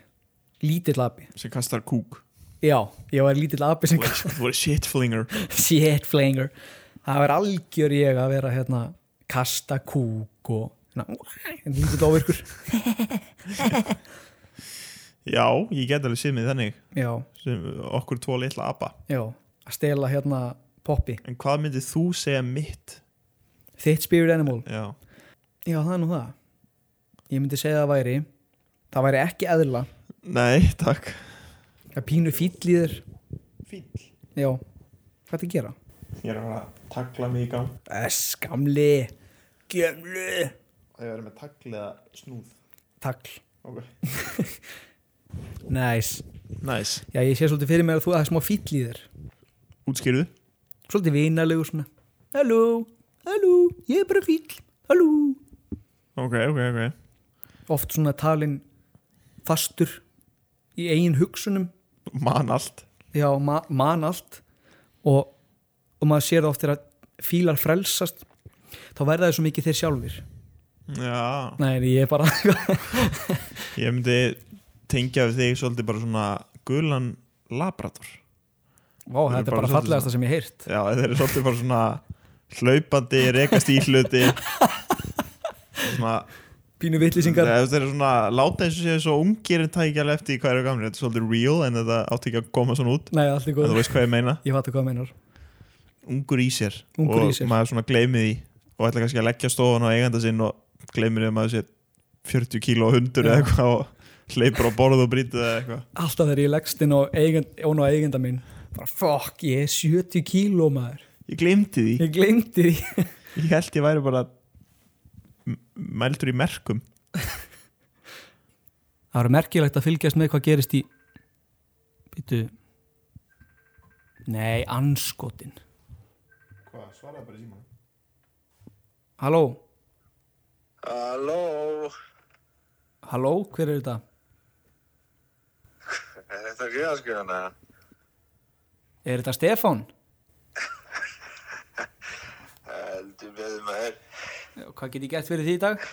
Speaker 2: lítill api,
Speaker 3: sem kastar kúk
Speaker 2: já, ég væri lítill api sem
Speaker 3: Þú voru shitflinger
Speaker 2: shit flanger það var algjör ég að vera hérna kasta kúk og hérna, en lítið ofirkur
Speaker 3: Já, ég get alveg séð mig þannig
Speaker 2: já,
Speaker 3: sem okkur tvo litla apa
Speaker 2: já, að stela hérna poppi
Speaker 3: En hvað myndið þú segja mitt
Speaker 2: Þitt spirit animal
Speaker 3: já,
Speaker 2: Já, það er nú það Ég myndi segja að það væri Það væri ekki eðla
Speaker 3: nei, takk
Speaker 2: Það er pínu fýll í þér
Speaker 3: fíl,
Speaker 2: Já, hvað er að gera?
Speaker 3: ég er að fara að takla mig í gang
Speaker 2: Þess, gamli Gamli
Speaker 3: og ég verður með takla eða snúð
Speaker 2: Takl
Speaker 3: ok,
Speaker 2: Næs
Speaker 3: næs,
Speaker 2: Já, ég sé svolítið fyrir mér að þú að það er smá fýll í þér
Speaker 3: útskýrðu
Speaker 2: Svolítið vinalegur svona Halló, halló, ég er bara fýll Halló
Speaker 3: ok, ok, ok
Speaker 2: Oft svona talin fastur Í eigin hugsunum
Speaker 3: man allt
Speaker 2: já, ma man allt og, og maður sér það oft þegar fílar frelsast þá verða þeir svo mikið þeir sjálfir
Speaker 3: já,
Speaker 2: nei, nei, ég er bara
Speaker 3: ég myndi tengja við þig svolítið bara svona gulan labrador
Speaker 2: Vá,
Speaker 3: Þeir eru
Speaker 2: þetta er
Speaker 3: bara
Speaker 2: bara
Speaker 3: svolítið
Speaker 2: fallegasta sem ég heirt
Speaker 3: já, þeir eru svolítið bara svona hlaupandi, rekast í hluti svona
Speaker 2: pínu vitlýsingar
Speaker 3: Nei, Þeir eru svona, láta eins og séu svo ungir en tækja alveg eftir í hvað eru gamlir, þetta er svolítið real en þetta átti ekki að koma svona út
Speaker 2: nei, allt er
Speaker 3: en
Speaker 2: góð,
Speaker 3: þú veist hvað ég meina,
Speaker 2: ég fattu hvað það meinar
Speaker 3: ungur í sér
Speaker 2: Ungur
Speaker 3: og
Speaker 2: í sér.
Speaker 3: maður svona gleymið því og ætla kannski að leggja stofan á eiganda sinn og gleymir því að maður sé 40 kíló og
Speaker 2: Já.
Speaker 3: hundur eða eitthvað og hleypur á borð og brýtur eða eitthvað
Speaker 2: alltaf þegar ég leggst inn á eigend, ón á eigenda minn bara fokk, ég er 70 kíló maður
Speaker 3: Ég gleymdi því,
Speaker 2: ég glemdi því
Speaker 3: ég held ég væri bara m- mældur í merkum
Speaker 2: það eru merkilegt að fylgjast með hvað gerist í býtu nei, anskotin
Speaker 3: Hvað, svaraði bara í síma?
Speaker 2: halló,
Speaker 4: Halló,
Speaker 2: halló, hver er þetta?
Speaker 4: er þetta greiðaskjöðuna?
Speaker 2: Er þetta Stefán?
Speaker 4: Heldur beðið maður.
Speaker 2: Hvað get ég gert fyrir því í dag?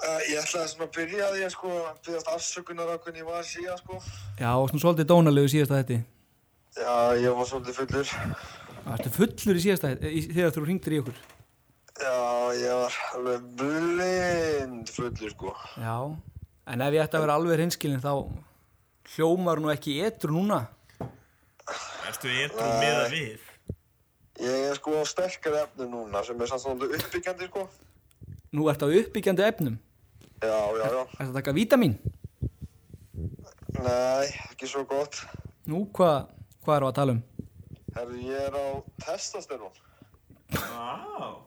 Speaker 4: Uh, ég ætlaði svona að byrja því að sko byggast afsökunar á hvernig ég var síðan sko.
Speaker 2: Já, og svona svolítið dónalegu síðasta þetta.
Speaker 4: Já, ég var svolítið fullur.
Speaker 2: Ertu fullur í síðasta þetta þegar þú ringdir í okkur?
Speaker 4: Já, ég var alveg blind fullur sko.
Speaker 2: Já, en ef ég ætti að vera alveg hinskilin þá hljómar nú ekki etru núna.
Speaker 3: Ertu ég eitthvað með að við?
Speaker 4: Ég er sko á sterkar efnu núna sem er samt svolítið uppbyggjandi sko.
Speaker 2: Nú ertu á uppbyggjandi efnum.
Speaker 4: Já, já, já.
Speaker 2: Ertu að taka vítamin?
Speaker 4: Nei, ekki svo gott.
Speaker 2: Nú, hvað hva eru að tala um?
Speaker 4: Herru, ég er á testosterón.
Speaker 3: Vá,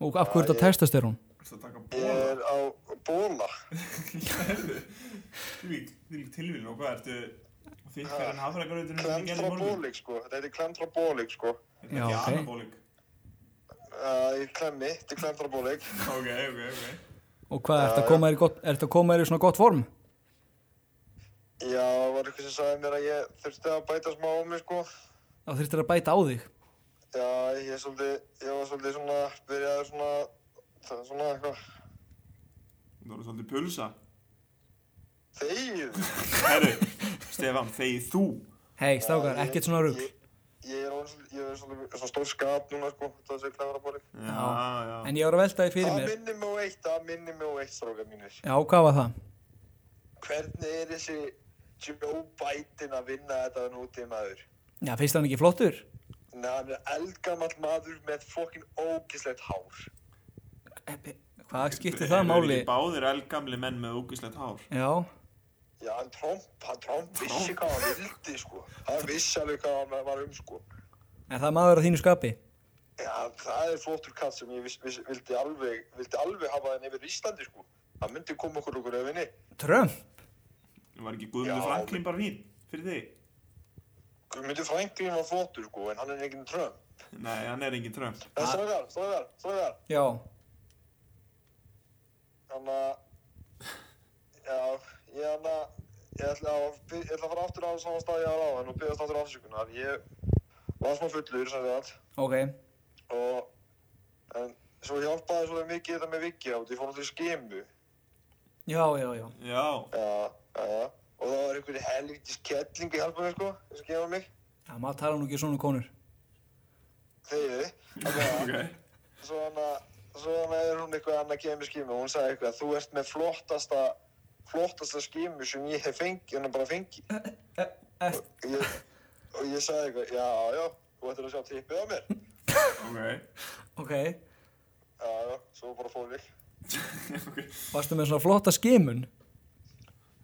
Speaker 2: Og af hverju ertu að testast þér hún?
Speaker 3: ertu að taka
Speaker 4: Ég er á bóla.
Speaker 3: Þvílík tilvílun og hvað ertu þikkar en hafragrauturinn
Speaker 4: Klemtrabólik sko. Þetta heitir klemtrabólik sko.
Speaker 2: Já, ok.
Speaker 3: Anabólik
Speaker 4: Uh, ég klemmi, þetta er klemtrabólik.
Speaker 3: Ok, ok, ok
Speaker 2: Og hvað ertu að koma þér í, gott, ertu að koma þér í svona gott form?
Speaker 4: Já, það var eitthvað sem sagði mér að ég þurfti að bæta smá á mig, sko.
Speaker 2: Þá þurftir að bæta á þig.
Speaker 4: Já, ég er svolítið, ég var svolítið svona, byrjaði svona, það er svona eitthvað,
Speaker 3: Þú eru svolítið pulsa
Speaker 4: þegið.
Speaker 3: Herru, Stefan, þegi þú
Speaker 2: Hei, strákar,
Speaker 4: Já, ég-
Speaker 2: ekkert svona rugl.
Speaker 4: Ég, ég er orðinn svolítið, ég er svolítið, svona stór skap núna, sko, það er sér klæðara bóli.
Speaker 3: Já,
Speaker 2: En ég var að velta þig fyrir
Speaker 4: Það
Speaker 2: mér.
Speaker 4: minnir mig á eitt, það minnir mig á eitt, stróka mínir.
Speaker 2: Já, hvað var það?
Speaker 4: Hvernig er þessi Joe Biden að vinna þetta nútið maður?
Speaker 2: Já, finnst það hann ekki flottur?
Speaker 4: Nei, hann er eldgamall maður með fokkin ógislegt hár.
Speaker 2: Eh, Hvað skiptir það máli?
Speaker 3: Báðir elgamli menn með úkislegt hár
Speaker 2: Já,
Speaker 4: Já, en Trump, hann Trump vissi hvað hann vildi, sko. Hann vissi alveg hvað hann var um, sko.
Speaker 2: en það er maður á þínu skapi
Speaker 4: Já, það er flottur katt sem ég viss, viss, vildi, alveg, vildi alveg hafa hann yfir Íslandi, sko. Hann myndi koma okkur okkur öfinni.
Speaker 2: Trump?
Speaker 3: Var ekki Guðmundur
Speaker 4: Já.
Speaker 3: Franklin bara fín fyrir þig?
Speaker 4: Myndi Franklin var flottur, sko, en hann er enginn Trump.
Speaker 3: Nei, hann er engin trönd
Speaker 4: En stráðar, stráðar, stráðar.
Speaker 2: Já,
Speaker 4: Þannig að, já, ég hann að, ég ætla að, ég ætla að fara aftur á saman stað ég var á, en nú byggðast aftur afsökunar. Ég var smá fullur, sem sagt.
Speaker 2: ok
Speaker 4: og en svo hjálpaði svo mikið þetta með Viki át, ég fór náttúrulega í skemu
Speaker 2: Já, já, já
Speaker 3: Já,
Speaker 4: já, já, já og það var einhverju helvitis kettling í halvunni sko, þess að gefa mig
Speaker 2: Já, maður tala nú ekki svona um konur
Speaker 4: þegiði, þannig að
Speaker 3: ok
Speaker 4: svo hann að svo hann að er hún eitthvað annað kemur skemu og hún sagði eitthvað, þú ert með flottasta flottasta skemu sem ég hef fengið hann bara fengi og ég, og ég sagði eitthvað, já, já þú ættir að sjá tippið á mér
Speaker 3: Ok
Speaker 2: Ok.
Speaker 4: já, já, svo bara fór ég
Speaker 5: ok,
Speaker 2: Varstu með svona flotta skimun?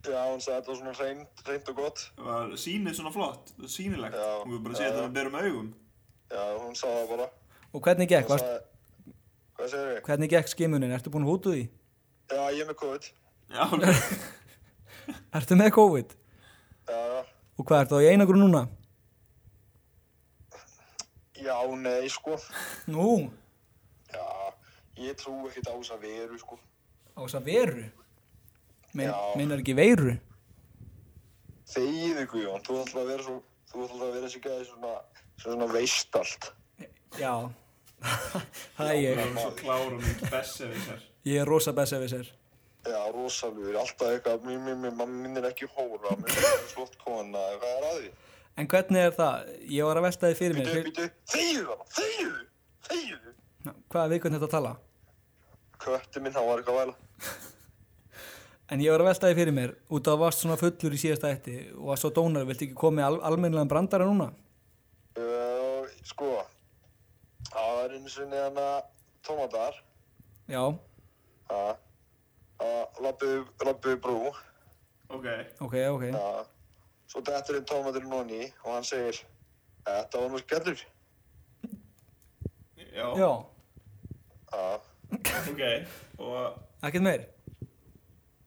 Speaker 4: já, hún sagði þetta var svona reynd, reynd og gott
Speaker 5: var sýnið svona flott, sýnilegt
Speaker 4: Já.
Speaker 5: og við bara séð
Speaker 4: Já,
Speaker 5: þetta
Speaker 4: já.
Speaker 5: með berum augum
Speaker 4: já, hún sagði það bara
Speaker 2: Og hvernig gekk?
Speaker 4: hún
Speaker 2: Varst,
Speaker 4: sagði, hvað segir ég?
Speaker 2: hvernig gekk skimunin? Ertu búin að hútu því?
Speaker 4: já, ég er með COVID
Speaker 5: já, ok,
Speaker 2: Ertu með COVID?
Speaker 4: já, já,
Speaker 2: Og hvað, ertu á í einangrun núna?
Speaker 4: já, nei, sko
Speaker 2: Nú,
Speaker 4: já, ég trú ekkert á þess að veru, sko
Speaker 2: á þess að veru. Mein,
Speaker 4: Já.
Speaker 2: meinar ekki veiru?
Speaker 4: þegiðu, Guðjón, þú ætla að vera svo þú ætla að vera þessi gæði svona svona veist allt
Speaker 2: Já. það er ég.
Speaker 5: svo klára mikið bessa við þessar
Speaker 2: Ég er rosa bessa við sér.
Speaker 4: já, rosalugur, alltaf eitthvað mér, mér, mér, maður minnir ekki hóra mér er ekki flott kona, hvað er að því?
Speaker 2: En hvernig er það? Ég var að velta því fyrir mér.
Speaker 4: Bíddu,
Speaker 2: Fyrir,
Speaker 4: bíddu, þegiðu hana, þegiðu þegiðu
Speaker 2: Ná, hvað er viðkvæmt þetta að tala?
Speaker 4: kötti minn, hann var eitthvað að væla
Speaker 2: En ég var að velta því fyrir mér. Út af að varst svona fullur í síðasta ætti og að svo dónar vilt ekki koma með al almennilegan brandara núna?
Speaker 4: Uh, sko, það var einu sinni hann að tómatar
Speaker 2: Já,
Speaker 4: að lappuðu brú
Speaker 5: ok,
Speaker 2: ok, ok.
Speaker 4: að svo dettur inn tómaturinn nonni og hann segir Þetta var nú skellur
Speaker 5: já,
Speaker 2: Já,
Speaker 4: að
Speaker 5: ok og
Speaker 2: ekkert meir.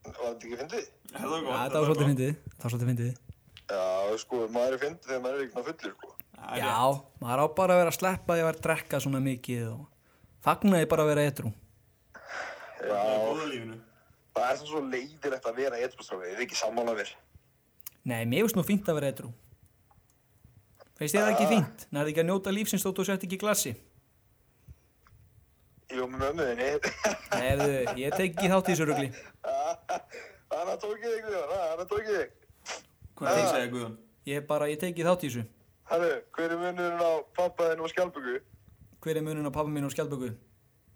Speaker 4: var þetta ekki fyndið?
Speaker 5: þetta var
Speaker 2: Já,
Speaker 5: gott
Speaker 2: þetta var
Speaker 5: gott.
Speaker 2: svolítið fyndið. Það var svolítið fyndið.
Speaker 4: Já, sko, maður er fyndið þegar maður er ekki ná fullur, sko
Speaker 5: Það er rétt.
Speaker 2: Já, maður á bara að vera að sleppa því að vera að drekka svona mikið og fagnaði bara að vera etru.
Speaker 5: það er
Speaker 4: Já,
Speaker 5: góða lífinu
Speaker 4: það er svo leiðilegt að vera eitthvað, þið er ekki sammála mér
Speaker 2: Nei, mér finnst nú fínt að vera etru. Veist þið það
Speaker 5: Ah.
Speaker 2: ekki fínt? Nærði ekki að njóta lífsins þótt og sett ekki í glassi.
Speaker 4: Jú, með mömmuðinni
Speaker 2: Nei, ég tek ekki þátt í þessu rugli.
Speaker 4: Þannig að tókið þig, þannig að tókið þig
Speaker 5: hvað er það að segja Guðan?
Speaker 2: Ég bara, ég tek ekki þátt í þessu.
Speaker 4: Herru, hver er munurinn á pappaðinu og skjálpugu?
Speaker 2: Hver er munin á pappa mín og skjálpöku?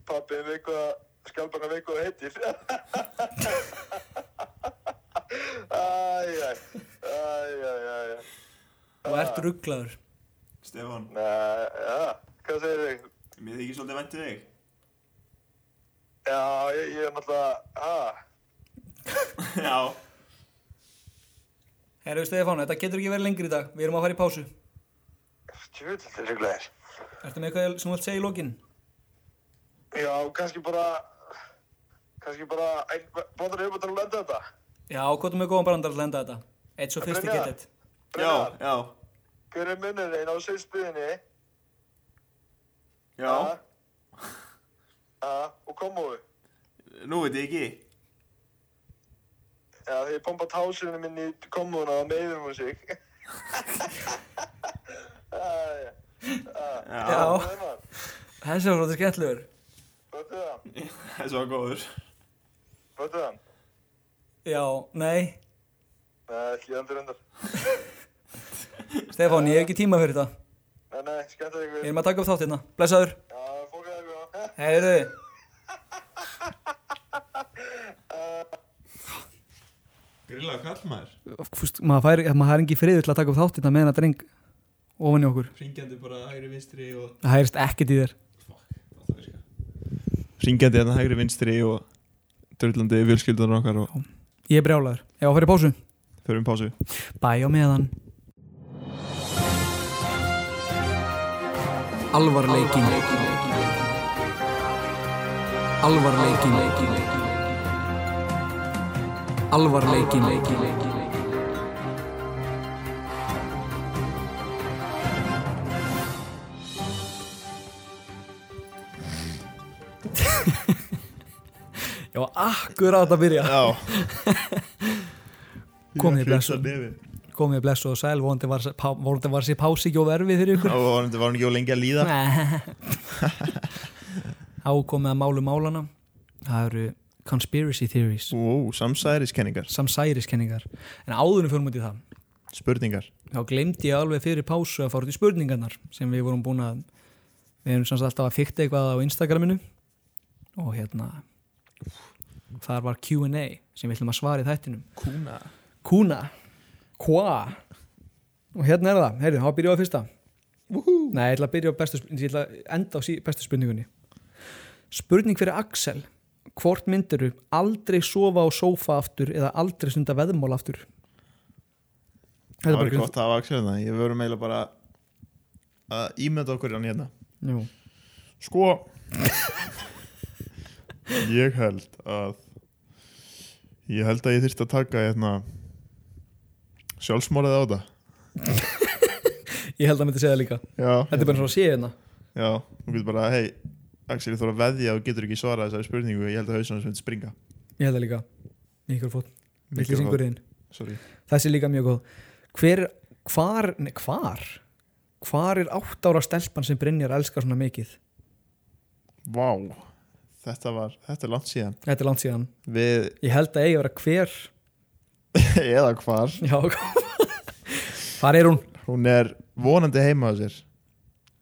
Speaker 4: Pappi veit hvað skjálpana veit hvað það heitir Æjæj Æjæj
Speaker 2: Þú ert rugglaður.
Speaker 5: Stefan,
Speaker 4: Nei, já, hvað segir þig?
Speaker 5: mér þykir svolítið vænt við þig
Speaker 4: Já, ég, ég er náttúrulega ha,
Speaker 5: já,
Speaker 2: Herru Stefán, þetta getur ekki verið lengri í dag. Við erum að fara í pásu.
Speaker 4: Tjúl, þetta er reglæðir
Speaker 2: Ertu með eitthvað sem þú vilt segja í lokin?
Speaker 4: Já, kannski bara kannski bara Bóttur hefur búin að lenda þetta
Speaker 2: Já, hvað er með góðan brandar að lenda þetta? Eitt svo fyrst
Speaker 4: Brynjar.
Speaker 5: já,
Speaker 4: Brynjar,
Speaker 5: já
Speaker 4: Hver er munurinn á sýstuðinni
Speaker 5: já,
Speaker 4: og komóðu
Speaker 5: nú veit ég ekki
Speaker 4: Já, þegar ég pompa tásinu minni í komuna og meður hún sig. Æ,
Speaker 5: já,
Speaker 2: Já.
Speaker 4: það er maður.
Speaker 2: Þessi var svolítið skemmtlegur.
Speaker 4: Föttu það,
Speaker 5: þessi var góður
Speaker 4: föttu það.
Speaker 2: Já, nei,
Speaker 4: Nei, ekki andur undar.
Speaker 2: Stefán, ég hef ekki tíma fyrir þetta.
Speaker 4: Nei, nei, skemmt að
Speaker 2: Við
Speaker 4: ykkur.
Speaker 2: erum að taka upp þáttina. Blessaður.
Speaker 4: Já, fókaðu ykkur. á.
Speaker 2: Heyrðu.
Speaker 5: grilla kallmaður,
Speaker 2: Fúst, maður fær, maður fær ekki friður til að taka upp þáttina með hennar dreng ofan í okkur.
Speaker 5: ringjandi bara hægri vinstri og
Speaker 2: Það heyrist ekkert í þér.
Speaker 3: Ringjandi hérna hægri vinstri og drullandi fjölskyldunar okkar og
Speaker 2: Ég er brjálaður. Ég á að fara í pásu.
Speaker 3: förum í pásu
Speaker 2: Bæ á meðan.
Speaker 6: Alvarleikin Alvarleikin Alvarleikin
Speaker 2: Já, akkurat að byrja.
Speaker 3: Já
Speaker 2: Komið blessuð.
Speaker 3: nefið
Speaker 2: Komið blessuð og sæl. Vonandi var, sá- pá- vonandi var sér pási ekki of erfið fyrir ykkur.
Speaker 3: Og var hann var hann ekki á lengi að líða
Speaker 2: Þá komið að málu málana. Það eru conspiracy theories.
Speaker 3: Ó, samsæðiskenningar
Speaker 2: samsæriskenningar en áðurum fyrir mútið það
Speaker 3: Spurningar
Speaker 2: þá glemdi ég alveg fyrir pásu að fara út í spurningarnar sem við vorum búin að við erum samt alltaf að fykta eitthvað á Instagraminu og hérna þar var Q&A sem við ætlum að svara í þættinum
Speaker 3: Kúna
Speaker 2: Kuna, Kva og hérna er það, heyrðu, þá byrjum við að fyrsta
Speaker 3: Woohoo
Speaker 2: Nei, ég ætla að byrja á bestu spurningunni, ég ætla að enda á sí, bestu spurningunni. Spurning fyrir Axel. Hvort myndiru aldrei sofa á sófa aftur eða aldrei stunda veðmál aftur?
Speaker 3: það var gott að hafa Axel hérna ég verður meila bara að ímynda okkur hann hérna
Speaker 2: Jú.
Speaker 3: sko ég held að ég held að ég þyrst að taka hérna sjálfsmálið á þetta
Speaker 2: Ég held að myndi segja það líka.
Speaker 3: já,
Speaker 2: Þetta er bara svona að sé hérna.
Speaker 3: já, þú getur bara hei Axel, ég þarf að veðja og getur ekki svarað þessari spurningu ég held að hausinn hans myndi springa
Speaker 2: Ég held það líka. Mikkur fót. Vittlýsingurinn.
Speaker 3: Sorry.
Speaker 2: Þessi er líka mjög góð. Hver, hvar, nei, hvar? Hvar er átt ára stelpan sem Brynjar elskar svona mikið?
Speaker 3: Vá, þetta var, þetta er langt síðan
Speaker 2: Þetta er langt síðan.
Speaker 3: Við,
Speaker 2: Ég held að eigi að vera hver.
Speaker 3: eða hvar
Speaker 2: Já, hvar er hún?
Speaker 3: Hún er vonandi heima á sér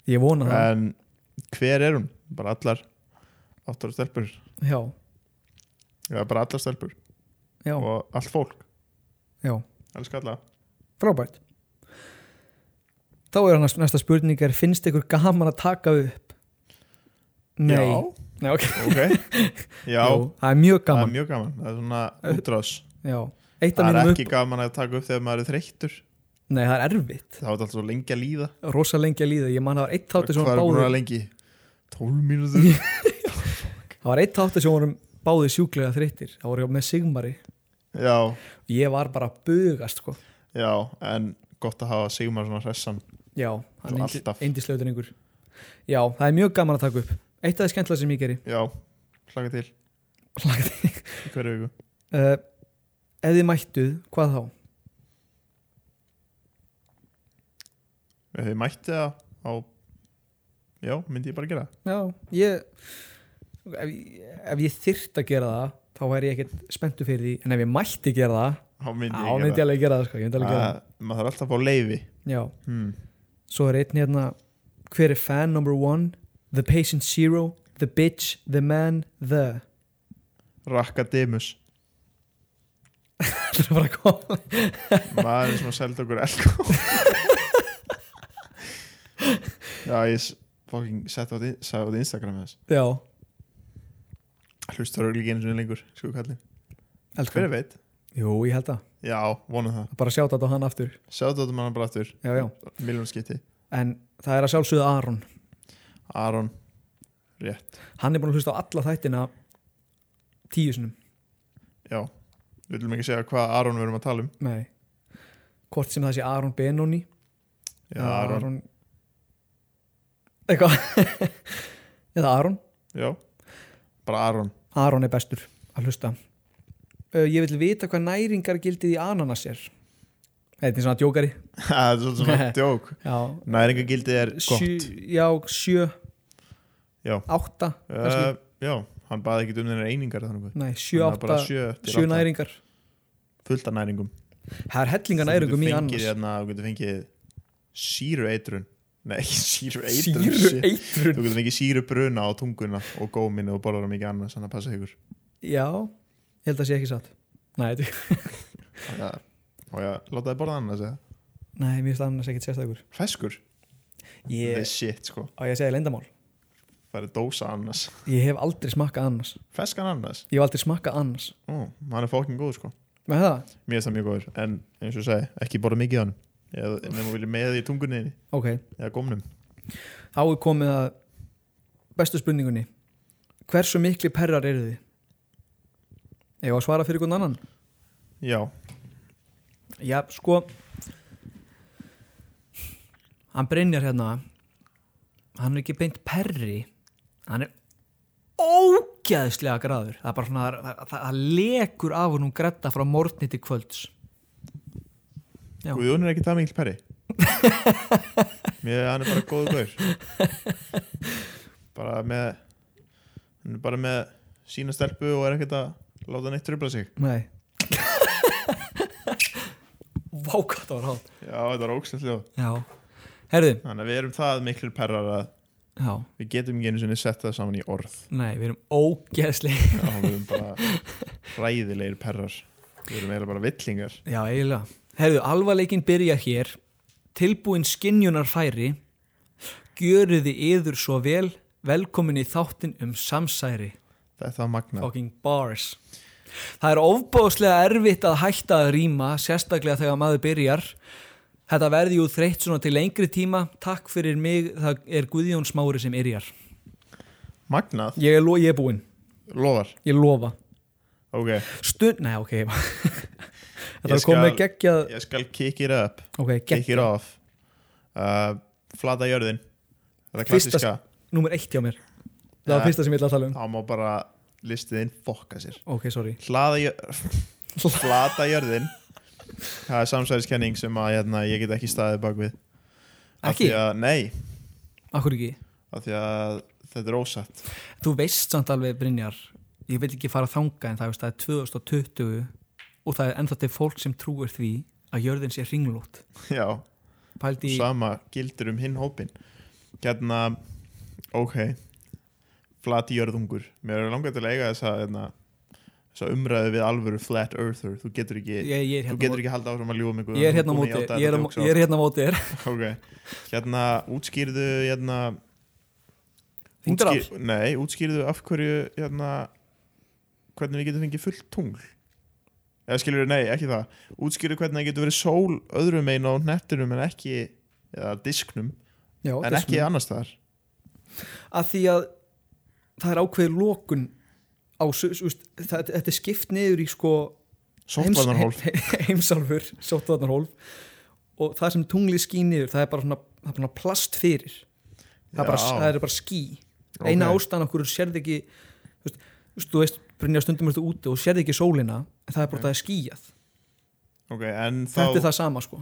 Speaker 2: Ég vona það.
Speaker 3: En hver er hún? Bara allar áttar stelpur
Speaker 2: Já,
Speaker 3: Já, bara allar stelpur
Speaker 2: já,
Speaker 3: Og allt fólk,
Speaker 2: já.
Speaker 3: elsku alla
Speaker 2: Frábært. Þá er hann næsta spurning er, finnst ykkur gaman að taka upp? Nei.
Speaker 3: Já,
Speaker 2: Nei, ok.
Speaker 3: ok Já,
Speaker 2: Jú, það er mjög
Speaker 3: það er
Speaker 2: gaman.
Speaker 3: mjög gaman Það er svona útrás
Speaker 2: Já. Eitt af
Speaker 3: Það er
Speaker 2: mínum
Speaker 3: ekki gaman að taka upp þegar maður er þreyttur
Speaker 2: upp. Nei, það er erfitt.
Speaker 3: Það var alltaf svo lengi að líða
Speaker 2: Rosa lengi að líða. Ég man það var eitt þáttur sem
Speaker 3: Hvað
Speaker 2: var
Speaker 3: er búin
Speaker 2: báði.
Speaker 3: að lengi? 12 mínútur
Speaker 2: Það var eitt þáttur sem vorum báði sjúklega þreyttir. Það voru hjá með Sigmari.
Speaker 3: Já,
Speaker 2: Ég var bara að bugast, sko.
Speaker 3: já, en gott að hafa Sigmar svona hressan
Speaker 2: Já,
Speaker 3: Svo
Speaker 2: hann
Speaker 3: alltaf.
Speaker 2: eindislautur yngur. Já, það er mjög gaman að taka upp. Eitt af það skemmtilega sem ég geri.
Speaker 3: Já, hlaka til
Speaker 2: Lagt
Speaker 3: í hverju viku
Speaker 2: uh, ef þið mættuð, hvað þá?
Speaker 3: Ef þið mætti það á Já, myndi ég bara gera það
Speaker 2: Já, ég ef, ef ég þyrt að gera það þá væri ég ekkert spenntu fyrir því en ef ég mætti gera það,
Speaker 3: Þá
Speaker 2: þá
Speaker 3: myndi ég
Speaker 2: myndi ég
Speaker 3: gera Ah.
Speaker 2: alveg gera það sko, ég myndi alveg gera
Speaker 3: það Æ, Maður þarf alltaf að fá leifi
Speaker 2: það Já,
Speaker 3: hmm.
Speaker 2: svo er einn hérna hver er fan number one, the patient zero the bitch, the man, the
Speaker 3: Rakkademus
Speaker 2: Það er bara að koma
Speaker 3: Maður sem að selda okkur elko Já, ég s- fucking sett á því sagði á því Instagram með þess
Speaker 2: Já,
Speaker 3: Hlustar auðvitað ekki einu sinni lengur, sko kallinn
Speaker 2: elsku
Speaker 3: Hver veit?
Speaker 2: Jú, ég held það,
Speaker 3: Já, vonum það
Speaker 2: bara sjáta þetta á hann aftur
Speaker 3: Sjáðu þetta manna um bara aftur
Speaker 2: Já, já,
Speaker 3: Miljón skipti
Speaker 2: en það er að sjálfsögða Aron
Speaker 3: Aron
Speaker 2: Hann er búin að hlusta á alla þættina tíu sinum
Speaker 3: Já, við viljum ekki segja hvað Aron við erum að tala um
Speaker 2: Nei Hvort sem það sé Aron Benoni
Speaker 3: Já, Aron,
Speaker 2: Eitthvað Eða Aron
Speaker 3: já Bara Aron
Speaker 2: Aron er bestur að hlusta uh, Ég vil vita hvað næringar gildið í ananas er Þetta er svona djókari
Speaker 3: Það er svolítið svona djók
Speaker 2: Já,
Speaker 3: Næringagildið er
Speaker 2: sjö,
Speaker 3: gott
Speaker 2: já, sjö
Speaker 3: Já.
Speaker 2: Átta
Speaker 3: uh,
Speaker 2: kannski.
Speaker 3: Já, hann baði ekki um þeirra einingar þannig
Speaker 2: Nei, sjö,
Speaker 3: Þannig að bara
Speaker 2: átta, sjö,
Speaker 3: sjö, til átta.
Speaker 2: næringar
Speaker 3: Fullt af næringum
Speaker 2: Það er hellinga næringum í
Speaker 3: Þú getur
Speaker 2: ananas
Speaker 3: fengið hérna, þú getur fengið síru eitrun Nei, ekki síru eitrun
Speaker 2: Sýru
Speaker 3: shit. Þú
Speaker 2: eitrun
Speaker 3: getur fengið síru bruna á tunguna og góminu og borðar mikið annars þannig að passa ykkur
Speaker 2: Já, ég held að sé ekki satt Nei, þetta-
Speaker 3: Já, og já, láta þið borða annars eða
Speaker 2: nei mér finnst ananas ekkert sérstakur
Speaker 3: Feskur, yeah. það er
Speaker 2: Ég,
Speaker 3: shit sko
Speaker 2: á ég að segja leyndamál
Speaker 3: Það er dósa annars
Speaker 2: Ég hef aldrei smakkað annars
Speaker 3: Feskan annars,
Speaker 2: Ég hef aldrei smakkað annars
Speaker 3: Ó, hann er fókin góð sko
Speaker 2: Með það?
Speaker 3: Mér er það mjög góður, en eins og ég segi, ekki borða mikið á hann Eða nefnum vilja með í tungunni
Speaker 2: Ok,
Speaker 3: eða gómnum
Speaker 2: þá er komið að bestu spurningunni Hversu mikli perrar eru þið? Ég var að svara fyrir hvern annan
Speaker 3: Já,
Speaker 2: Já, sko Hann Brynjar hérna Hann er ekki beint perri Hann er ógæðslega graður Það er bara svona, það, það, það, það lekur af hún grætta frá morgni til kvölds Já.
Speaker 3: Guðjón er ekki það mikil perri Mér hann er bara góðu gaur Bara með Hann er bara með sína stelpu og er ekkert að láta neitt tröfla sig
Speaker 2: Nei Vá hvað það var hát
Speaker 3: Já, þetta er ógstæðslega
Speaker 2: Já, herðu
Speaker 3: Þannig að við erum það miklir perrar að
Speaker 2: Já,
Speaker 3: við getum ekki einu sinni sett það saman í orð
Speaker 2: nei, við erum ógeðslega
Speaker 3: Já, við erum bara ræðilegir perrar Við erum eiginlega bara villingar
Speaker 2: Já, eiginlega Herðu, alvarleikin byrja hér Tilbúin skinjunar færi gjöruði yður svo vel velkomin í þáttin um samsæri
Speaker 3: Þetta var magna
Speaker 2: fucking bars það er ofbóðslega erfitt að hætta að rýma sérstaklega þegar maður byrjar þetta verði jú þreytt svona til lengri tíma takk fyrir mig, það er Guðjón Smári sem yrjar
Speaker 3: Magnað?
Speaker 2: ég er, lo ég er búinn,
Speaker 3: Lofar?
Speaker 2: ég lofa
Speaker 3: Ok
Speaker 2: stund, nei ok þetta
Speaker 3: Ég
Speaker 2: er komið
Speaker 3: skal-
Speaker 2: geggjað
Speaker 3: Ég skal kick it up
Speaker 2: ok,
Speaker 3: Kick
Speaker 2: geggjað,
Speaker 3: it off uh, Flata jörðin Þetta er
Speaker 2: Fyrsta-
Speaker 3: klassiska
Speaker 2: númer eitt hjá mér það var
Speaker 3: Ja.
Speaker 2: fyrsta sem ég ætla að tala um
Speaker 3: Þá má bara listiðinn fokka sér
Speaker 2: ok, sorry
Speaker 3: Hlaða jörð Flata jörðin Það er samsæðiskenning sem að hérna, ég get ekki staðið bak við Af
Speaker 2: Ekki?
Speaker 3: því að, Nei,
Speaker 2: Akkur ekki?
Speaker 3: af því að þetta er ósatt
Speaker 2: Þú veist samt alveg Brynjar ég vil ekki fara að þanga en það, veist, það er 2020 og það er ennþá til fólk sem trúir því að jörðin sé ringlót
Speaker 3: Já,
Speaker 2: Pældi í
Speaker 3: sama gildir um hinn hópin Hérna, ok Flati jörðungur Mér er langar til að eiga þessa, hérna, þessa umræðu við alvöru flat earther Þú getur ekki
Speaker 2: ég, ég er
Speaker 3: Þú
Speaker 2: hérna,
Speaker 3: getur
Speaker 2: móti,
Speaker 3: ekki haldið áfram að ljúga um mig
Speaker 2: ég er hérna á móti þér. ég er, á- ég er hérna á móti þér
Speaker 3: Ok, hérna útskýrðu hérna
Speaker 2: Þyngdarafl?
Speaker 3: Nei, útskýrðu af hverju hérna hvernig við getum fengið fullt tungl eða skilur nei, ekki það útskýrðu hvernig það getur verið sól öðrum einn á nettinum en ekki eða disknum,
Speaker 2: Já,
Speaker 3: en
Speaker 2: þess
Speaker 3: ekki
Speaker 2: vegna.
Speaker 3: annars þar
Speaker 2: að því að það er ákveðið lókun á, su- su- veist, það, þetta er skipt niður í sko
Speaker 3: Sóttvarnarhólf
Speaker 2: heims- heimsálfur, sóttvarnarhólf og það sem tungli skín niður það er bara svona, það er bara plast fyrir það er bara,
Speaker 3: Já.
Speaker 2: það er bara skí eina
Speaker 3: Ok.
Speaker 2: ástæðan okkur sérði ekki þú veist, þú veist, þú veist Brynja stundum ertu úti og sérði ekki sólina en það er bara það er skíjað
Speaker 3: Ok, en,
Speaker 2: þetta er
Speaker 3: þá,
Speaker 2: það sama sko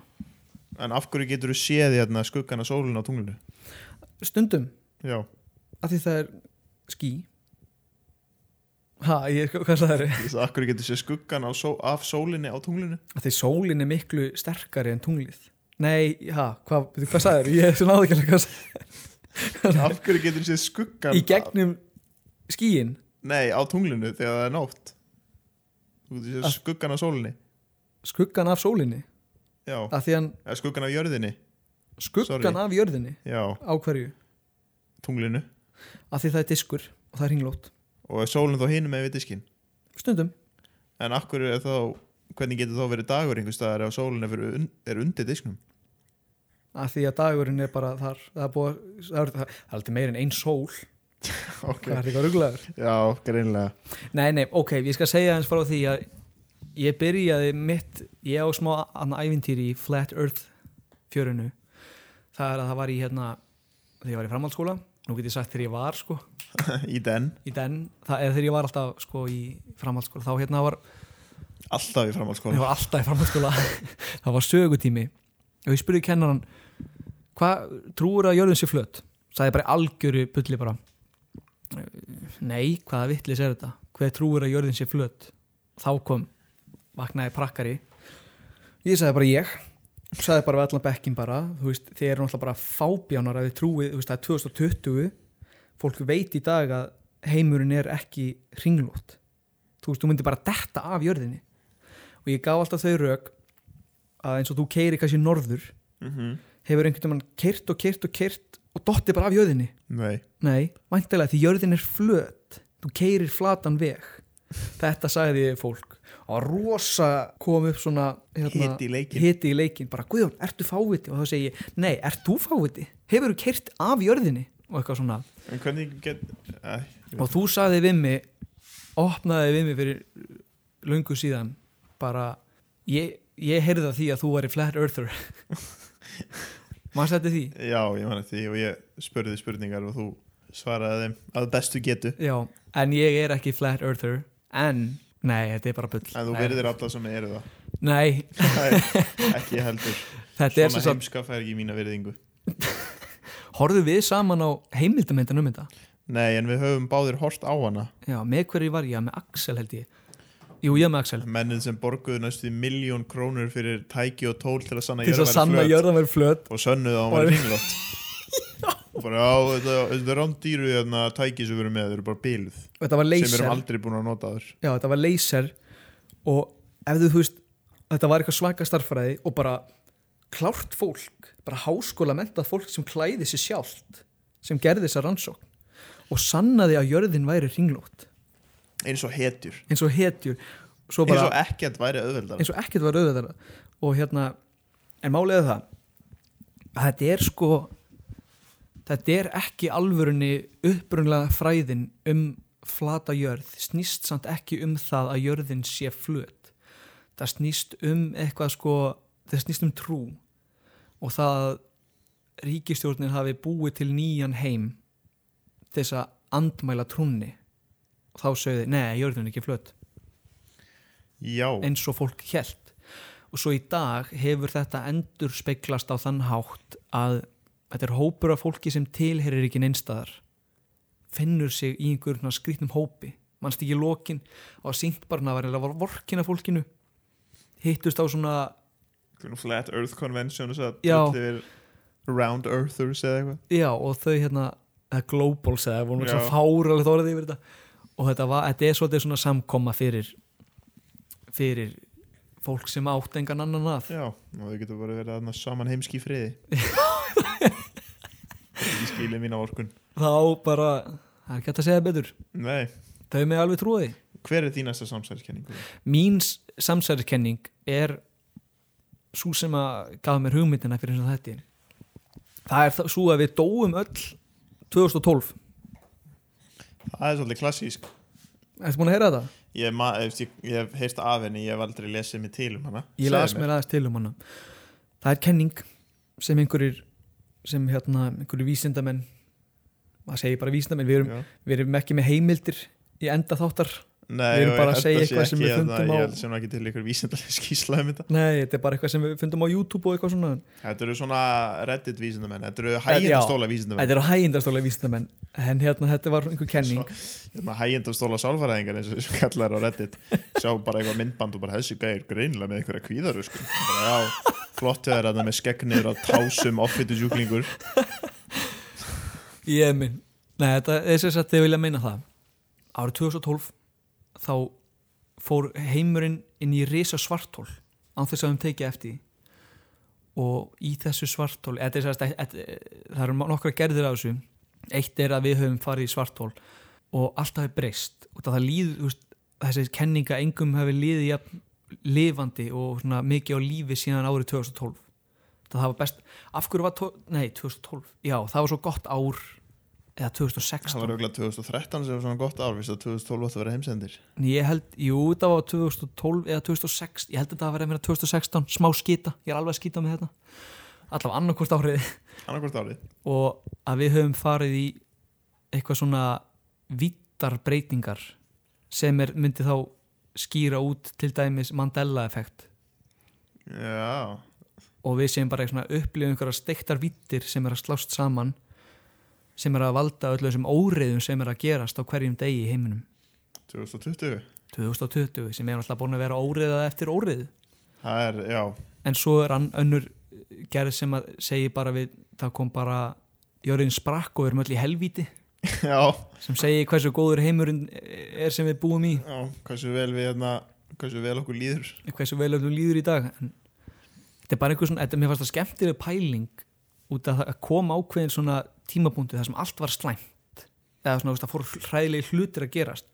Speaker 3: en af hverju getur þú séð hérna skuggana sólun á tunglinu?
Speaker 2: stundum
Speaker 3: Já,
Speaker 2: að því það er skí ha, ég, hvað það er
Speaker 3: þess að af hverju getur séð skuggan á só, af sólinni á tunglinu?
Speaker 2: að því sólin er miklu sterkari en tunglið nei, ha, hvað, veitu, hvað sagði þér ég er svona áðurkjörlega hvað sagði
Speaker 3: Af hverju getur séð skuggan
Speaker 2: í gegnum skíin
Speaker 3: Nei, á tunglinu þegar það er nótt Þú getur séð skuggan af sólinni
Speaker 2: skuggan af sólinni
Speaker 3: Já,
Speaker 2: að því hann
Speaker 3: eða skuggan af jörðinni
Speaker 2: skuggan
Speaker 3: Sorry.
Speaker 2: af jörðinni
Speaker 3: Já,
Speaker 2: á hverju,
Speaker 3: tunglinu
Speaker 2: að því það er diskur og það er ringlót,
Speaker 3: Og er sólin þá hinum með við diskinn
Speaker 2: stundum
Speaker 3: En af hverju er þá Hvernig getur þá verið dagur einhvers staðar Ef sólin er, fyrir, un- er undir disknum
Speaker 2: að því að dagurinn er bara þar það er, búið, það er, það er aldrei meir en ein sól
Speaker 3: Ok,
Speaker 2: það er eitthvað ruglaður
Speaker 3: já, greinlega
Speaker 2: nei, nei, ok, ég skal segja hans frá því að ég byrjaði mitt ég á smá annað ævintýri í Flat Earth fjörunu það er að það var í hérna þegar ég var í framhaldsskóla, nú get ég sagt þegar ég var sko,
Speaker 3: Í den,
Speaker 2: í den, það er þegar ég var alltaf sko í framhaldsskóla, þá hérna var
Speaker 3: alltaf í
Speaker 2: ég
Speaker 3: framhaldsskóla
Speaker 2: var alltaf í framhaldsskóla það var sögutími og ég spurði kennaran hvað trúur að jörðin sé flött sagði bara í algjöru bulli bara nei, hvaða vittlis er þetta hver trúur að jörðin sé flött þá kom, vaknaði prakkari ég sagði bara ég sagði bara við allan bekkin bara þú veist, þið eru náttúrulega bara fábjánar að þið trúið, þú veist, það er 2020 fólk veit í dag að heimurinn er ekki ringlót þú veist, þú myndir bara detta af jörðinni og ég gaf alltaf þau rauk að eins og þú keiri kannski norður
Speaker 3: Mhm.
Speaker 2: hefur einhvern veginn keirt og keirt og keirt og dotti bara af jörðinni
Speaker 3: Nei,
Speaker 2: nei, væntilega því jörðin er flöt þú keirir flatan veg þetta sagði ég fólk og rosa kom upp svona hérna,
Speaker 3: Hiti í leikinn.
Speaker 2: hiti í leikinn, bara Guðjón, ertu fáviti og þá segi ég, nei, ert þú fáviti hefur þú keirt af jörðinni og eitthvað svona
Speaker 3: en hvernig get eh, Æ, ég
Speaker 2: og þú sagði við mig opnaði við mig fyrir löngu síðan bara ég, ég heyrði það því að þú væri flat earther maður sætti því
Speaker 3: veit- Já, ég man eftir því og ég spurði spurningar og þú svaraði þeim að bestu getu
Speaker 2: já, en ég er ekki flat earther en, nei, þetta er bara bull
Speaker 3: En þú
Speaker 2: Nei.
Speaker 3: verðir alltaf sem eru það
Speaker 2: nei,
Speaker 3: Nei, ekki heldur
Speaker 2: þetta er
Speaker 3: Svona
Speaker 2: svo samt
Speaker 3: heimska fær ekki mína virðingu
Speaker 2: horfðu við saman á heimildamöndan um þetta
Speaker 3: Nei, en við höfum báðir hort á hana
Speaker 2: já, með hverju var ég, með Axel held ég jú, ég með Axel
Speaker 3: Mennin sem borguðu næstu miljón krónur fyrir tæki og tól til að sanna
Speaker 2: til þess að
Speaker 3: jörðværi
Speaker 2: sanna
Speaker 3: flöt
Speaker 2: jörðan verið flöt
Speaker 3: og sönnuðu að hún var ringlótt bara á, þetta þetta er rándýru hérna, tæki sem við erum með, þau eru bara bíluð
Speaker 2: þetta var
Speaker 3: sem við
Speaker 2: leyser
Speaker 3: erum aldrei búin að nota þur
Speaker 2: já, þetta var laser og ef þú, þú veist þetta var eitthvað svaka starffræði og bara klárt fólk, bara háskóla mentað fólk sem klæði sér sjálft sem gerði þessa rannsókn og sannaði að jörðin væri ringlótt
Speaker 3: eins og hetjur
Speaker 2: eins og hetjur svo
Speaker 3: eins
Speaker 2: bara,
Speaker 3: og ekkert væri auðveldar
Speaker 2: eins og ekkert var auðvitað og hérna, en málega það að þetta er sko þetta er ekki alvörunni upprunlega fræðin um flata jörð, snýst samt ekki um það að jörðin sé flöt það snýst um eitthvað sko það snýst um trú og það að ríkistjórnin hafi búið til nýjan heim til þess að andmæla trúnni og þá sögðu, nei, jörðin er ekki flöt
Speaker 3: já,
Speaker 2: eins og fólk hjælt og svo í dag hefur þetta endur speiklast á þann hátt að þetta er hópur af fólki sem tilherir ekki neinstadar finnur sig í einhverjum skrýtnum hópi mannst ekki lokin á syngbarna var eða var vorkin af fólkinu hittust á svona
Speaker 3: Einhvern flat earth convention og svo að
Speaker 2: Já.
Speaker 3: drullið yfir round earthers eða eitthvað
Speaker 2: já og þau hérna eða globals eða voru
Speaker 3: Já.
Speaker 2: svona fáralegt orðið yfir þetta og þetta, var, þetta er svolítið svona samkoma fyrir fyrir fólk sem átt engan annan að
Speaker 3: já, og þau getur bara verið aðna saman heimski í friði ég skilja mína orkun
Speaker 2: þá bara, það er ekki hægt að segja betur
Speaker 3: nei,
Speaker 2: þau með alveg trúa því
Speaker 3: hver er þín næsta samsæðiskenning?
Speaker 2: mín s- samsæriskenning er svo sem að gaf mér hugmyndina fyrir eins og þetta það er það- svo að við dóum öll 2012
Speaker 3: það er svolítið klassísk
Speaker 2: Ertu búin að heyra þetta?
Speaker 3: ég, ma- þú veist, ég, ég hef heyrt af henni, ég hef aldrei lesið mig til um hana
Speaker 2: Ég
Speaker 3: Segðu
Speaker 2: las mér aðeins til um hana Það er kenning sem einhverjir sem hérna, einhverjir vísindamenn maður segir bara vísindamenn við erum,
Speaker 3: Já.
Speaker 2: við erum ekki með heimildir í enda þáttar
Speaker 3: Nei,
Speaker 2: Við erum
Speaker 3: og
Speaker 2: bara að
Speaker 3: ég held
Speaker 2: segja
Speaker 3: sé
Speaker 2: eitthvað sem
Speaker 3: ekki
Speaker 2: við
Speaker 3: að það-
Speaker 2: fundum á-
Speaker 3: Ég held sem ekki til ykkur vísindalega skýsla um þetta
Speaker 2: Nei, þetta er bara eitthvað sem við fundum á YouTube og eitthvað svona
Speaker 3: Þetta eru svona reddit vísindamenn Þetta eru
Speaker 2: Eh, já.
Speaker 3: hægjendastóla vísindamenn
Speaker 2: Þetta eru hægindastólega vísindamenn en hérna þetta var einhver kenning
Speaker 3: Þetta eru hægjendastóla sálfæræðingar eins og þessu kallar á reddit Sjá bara eitthvað myndband og bara þessi gæðir greinilega með einhverja kvíðaru sko. bara, já, Flott hefur þetta með skegnir og tásum offitu sjúklingur
Speaker 2: Ég minn Nei, þetta er sem sagt, ég vilja meina það Árið 2012 þá fór heimurinn inn í risa svartól án þess að við tekið eftir því. og í þessu svartól þetta er sem sagt, þetta, það eru nokkra gerðir af þessu eitt er að við höfum farið í svartól og allt hafi breyst og það líð, þú veist, þessi kenninga engum hafi liðið jafn, lifandi og svona mikið á lífi síðan árið 2012 það var best, af hverju var tó- nei, 2012, já, það var svo gott ár eða
Speaker 3: Það
Speaker 2: 2016
Speaker 3: var auðvitað 2013 sem var svona gott ár Vist að 2012 átt að vera heimsendir
Speaker 2: Nei, Ég held, jú, það var 2012 eða 2006, ég held að það var að vera 2016 smá skýta, ég er alveg að skýta með þetta allavega annarkvort árið
Speaker 3: Annarkvort árið
Speaker 2: og að við höfum farið í eitthvað svona vittar breytingar sem er, myndi þá skýra út til dæmis Mandela-effekt
Speaker 3: Já,
Speaker 2: og við séum bara svona upplifum einhverja steiktar vittir sem er að slást saman sem er að valda öllu þessum óriðum sem er að gerast á hverjum degi í heiminum
Speaker 3: 2020
Speaker 2: 2020 sem er alltaf búin að vera óriðað eftir óriðu
Speaker 3: Það er, já,
Speaker 2: en svo er hann önnur gerð sem að segi bara við það kom bara jörðin sprakk og við erum öll í helvíti
Speaker 3: já
Speaker 2: sem segi hversu góður heimurinn er sem við búum í
Speaker 3: Já, hversu vel við hérna hversu vel okkur líður
Speaker 2: hversu vel öllum líður í dag en þetta er bara einhver svona, þetta, mér fannst það skemmtileg pæling út af það að kom ákveðin svona tímabúndu þar sem allt var slæmt eða svona þú veist, það fór hræðilegi hlutir að gerast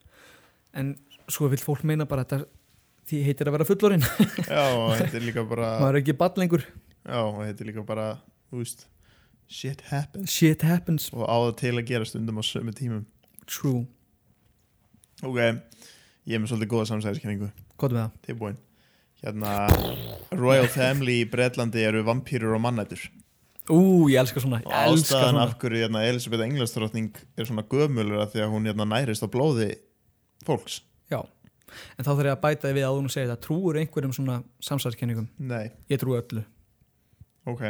Speaker 2: en svo vill fólk meina bara að þetta því heitir að vera fullorinn
Speaker 3: Já, og þetta er líka bara
Speaker 2: maður er ekki ball lengur,
Speaker 3: Já, og þetta er líka bara, þú veist Shit happens
Speaker 2: shit happens
Speaker 3: Og á það til að gera stundum á sömu tímum
Speaker 2: true,
Speaker 3: Ok, ég er með svolítið góða samsæðiskenningu
Speaker 2: gott með það
Speaker 3: Tilbúin Hérna, Royal Family í Bretlandi eru vampýrur og mannættur
Speaker 2: Ú, ég elska svona,
Speaker 3: Og
Speaker 2: ég elska
Speaker 3: ástæðan
Speaker 2: svona
Speaker 3: af hverju hérna, Elisabeth Englandsdrottning er svona gömulur að því að hún hérna, nærist á blóði fólks
Speaker 2: Já, en þá þarf ég að bæta því við áður og segja þetta Trúur einhverjum svona samsæðskenningum?
Speaker 3: Nei,
Speaker 2: Ég trú öllu
Speaker 3: ok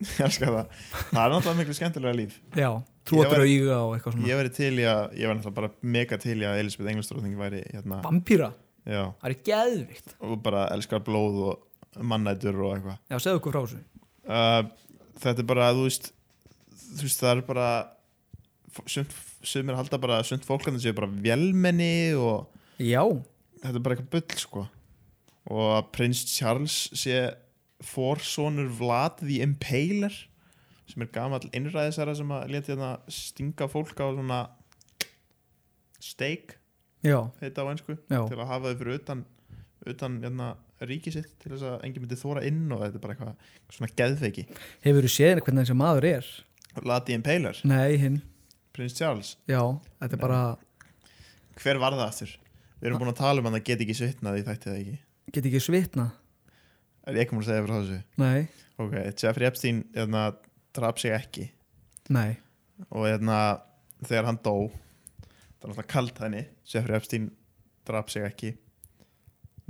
Speaker 3: Ég elska það Það er náttúrulega miklu skemmtilega líf
Speaker 2: Já, trú öllu
Speaker 3: Ég var-
Speaker 2: og íga og eitthvað svona
Speaker 3: Ég væri til í að, ég var náttúrulega bara mega til í að Elisabeth Englandsdrottning væri hérna,
Speaker 2: Vampýra,
Speaker 3: já,
Speaker 2: það er geðvikt
Speaker 3: og bara elskar blóð og mannætur og eitthvað.
Speaker 2: Já, segðu okkur frá þessu
Speaker 3: Uh, þetta er bara, þú veist, þú veist, það er bara, f- sumt, sumir halda bara, sumt fólklandin séu bara vélmenni og
Speaker 2: Já,
Speaker 3: þetta er bara eitthvað bull, sko. Og að prins Charles sé forsonur Vlad the Impaler sem er gamall innræðisæra sem að leti hérna stinga fólk á svona steak
Speaker 2: já,
Speaker 3: heita á einsku
Speaker 2: já,
Speaker 3: til að hafa þau fyrir utan, utan hérna, ríki sitt til þess að enginn myndi þóra inn og þetta er bara eitthvað eitthvað svona geðveiki
Speaker 2: hefur þú séð hvernig þessi maður er
Speaker 3: Latian Paylor,
Speaker 2: nei, hinn,
Speaker 3: prins Charles
Speaker 2: já, þetta er bara
Speaker 3: hver var það aftur? Við erum búin að tala um að það get ekki svitnað í þætti það ekki
Speaker 2: get ekki svitna,
Speaker 3: Er ég ekki múin að segja frá þessu?
Speaker 2: nei,
Speaker 3: Ok, Jeffrey Epstein hérna, draf sig ekki
Speaker 2: nei
Speaker 3: og hérna, þegar hann dó það er náttúrulega kalt henni Jeffrey Epstein draf sig ekki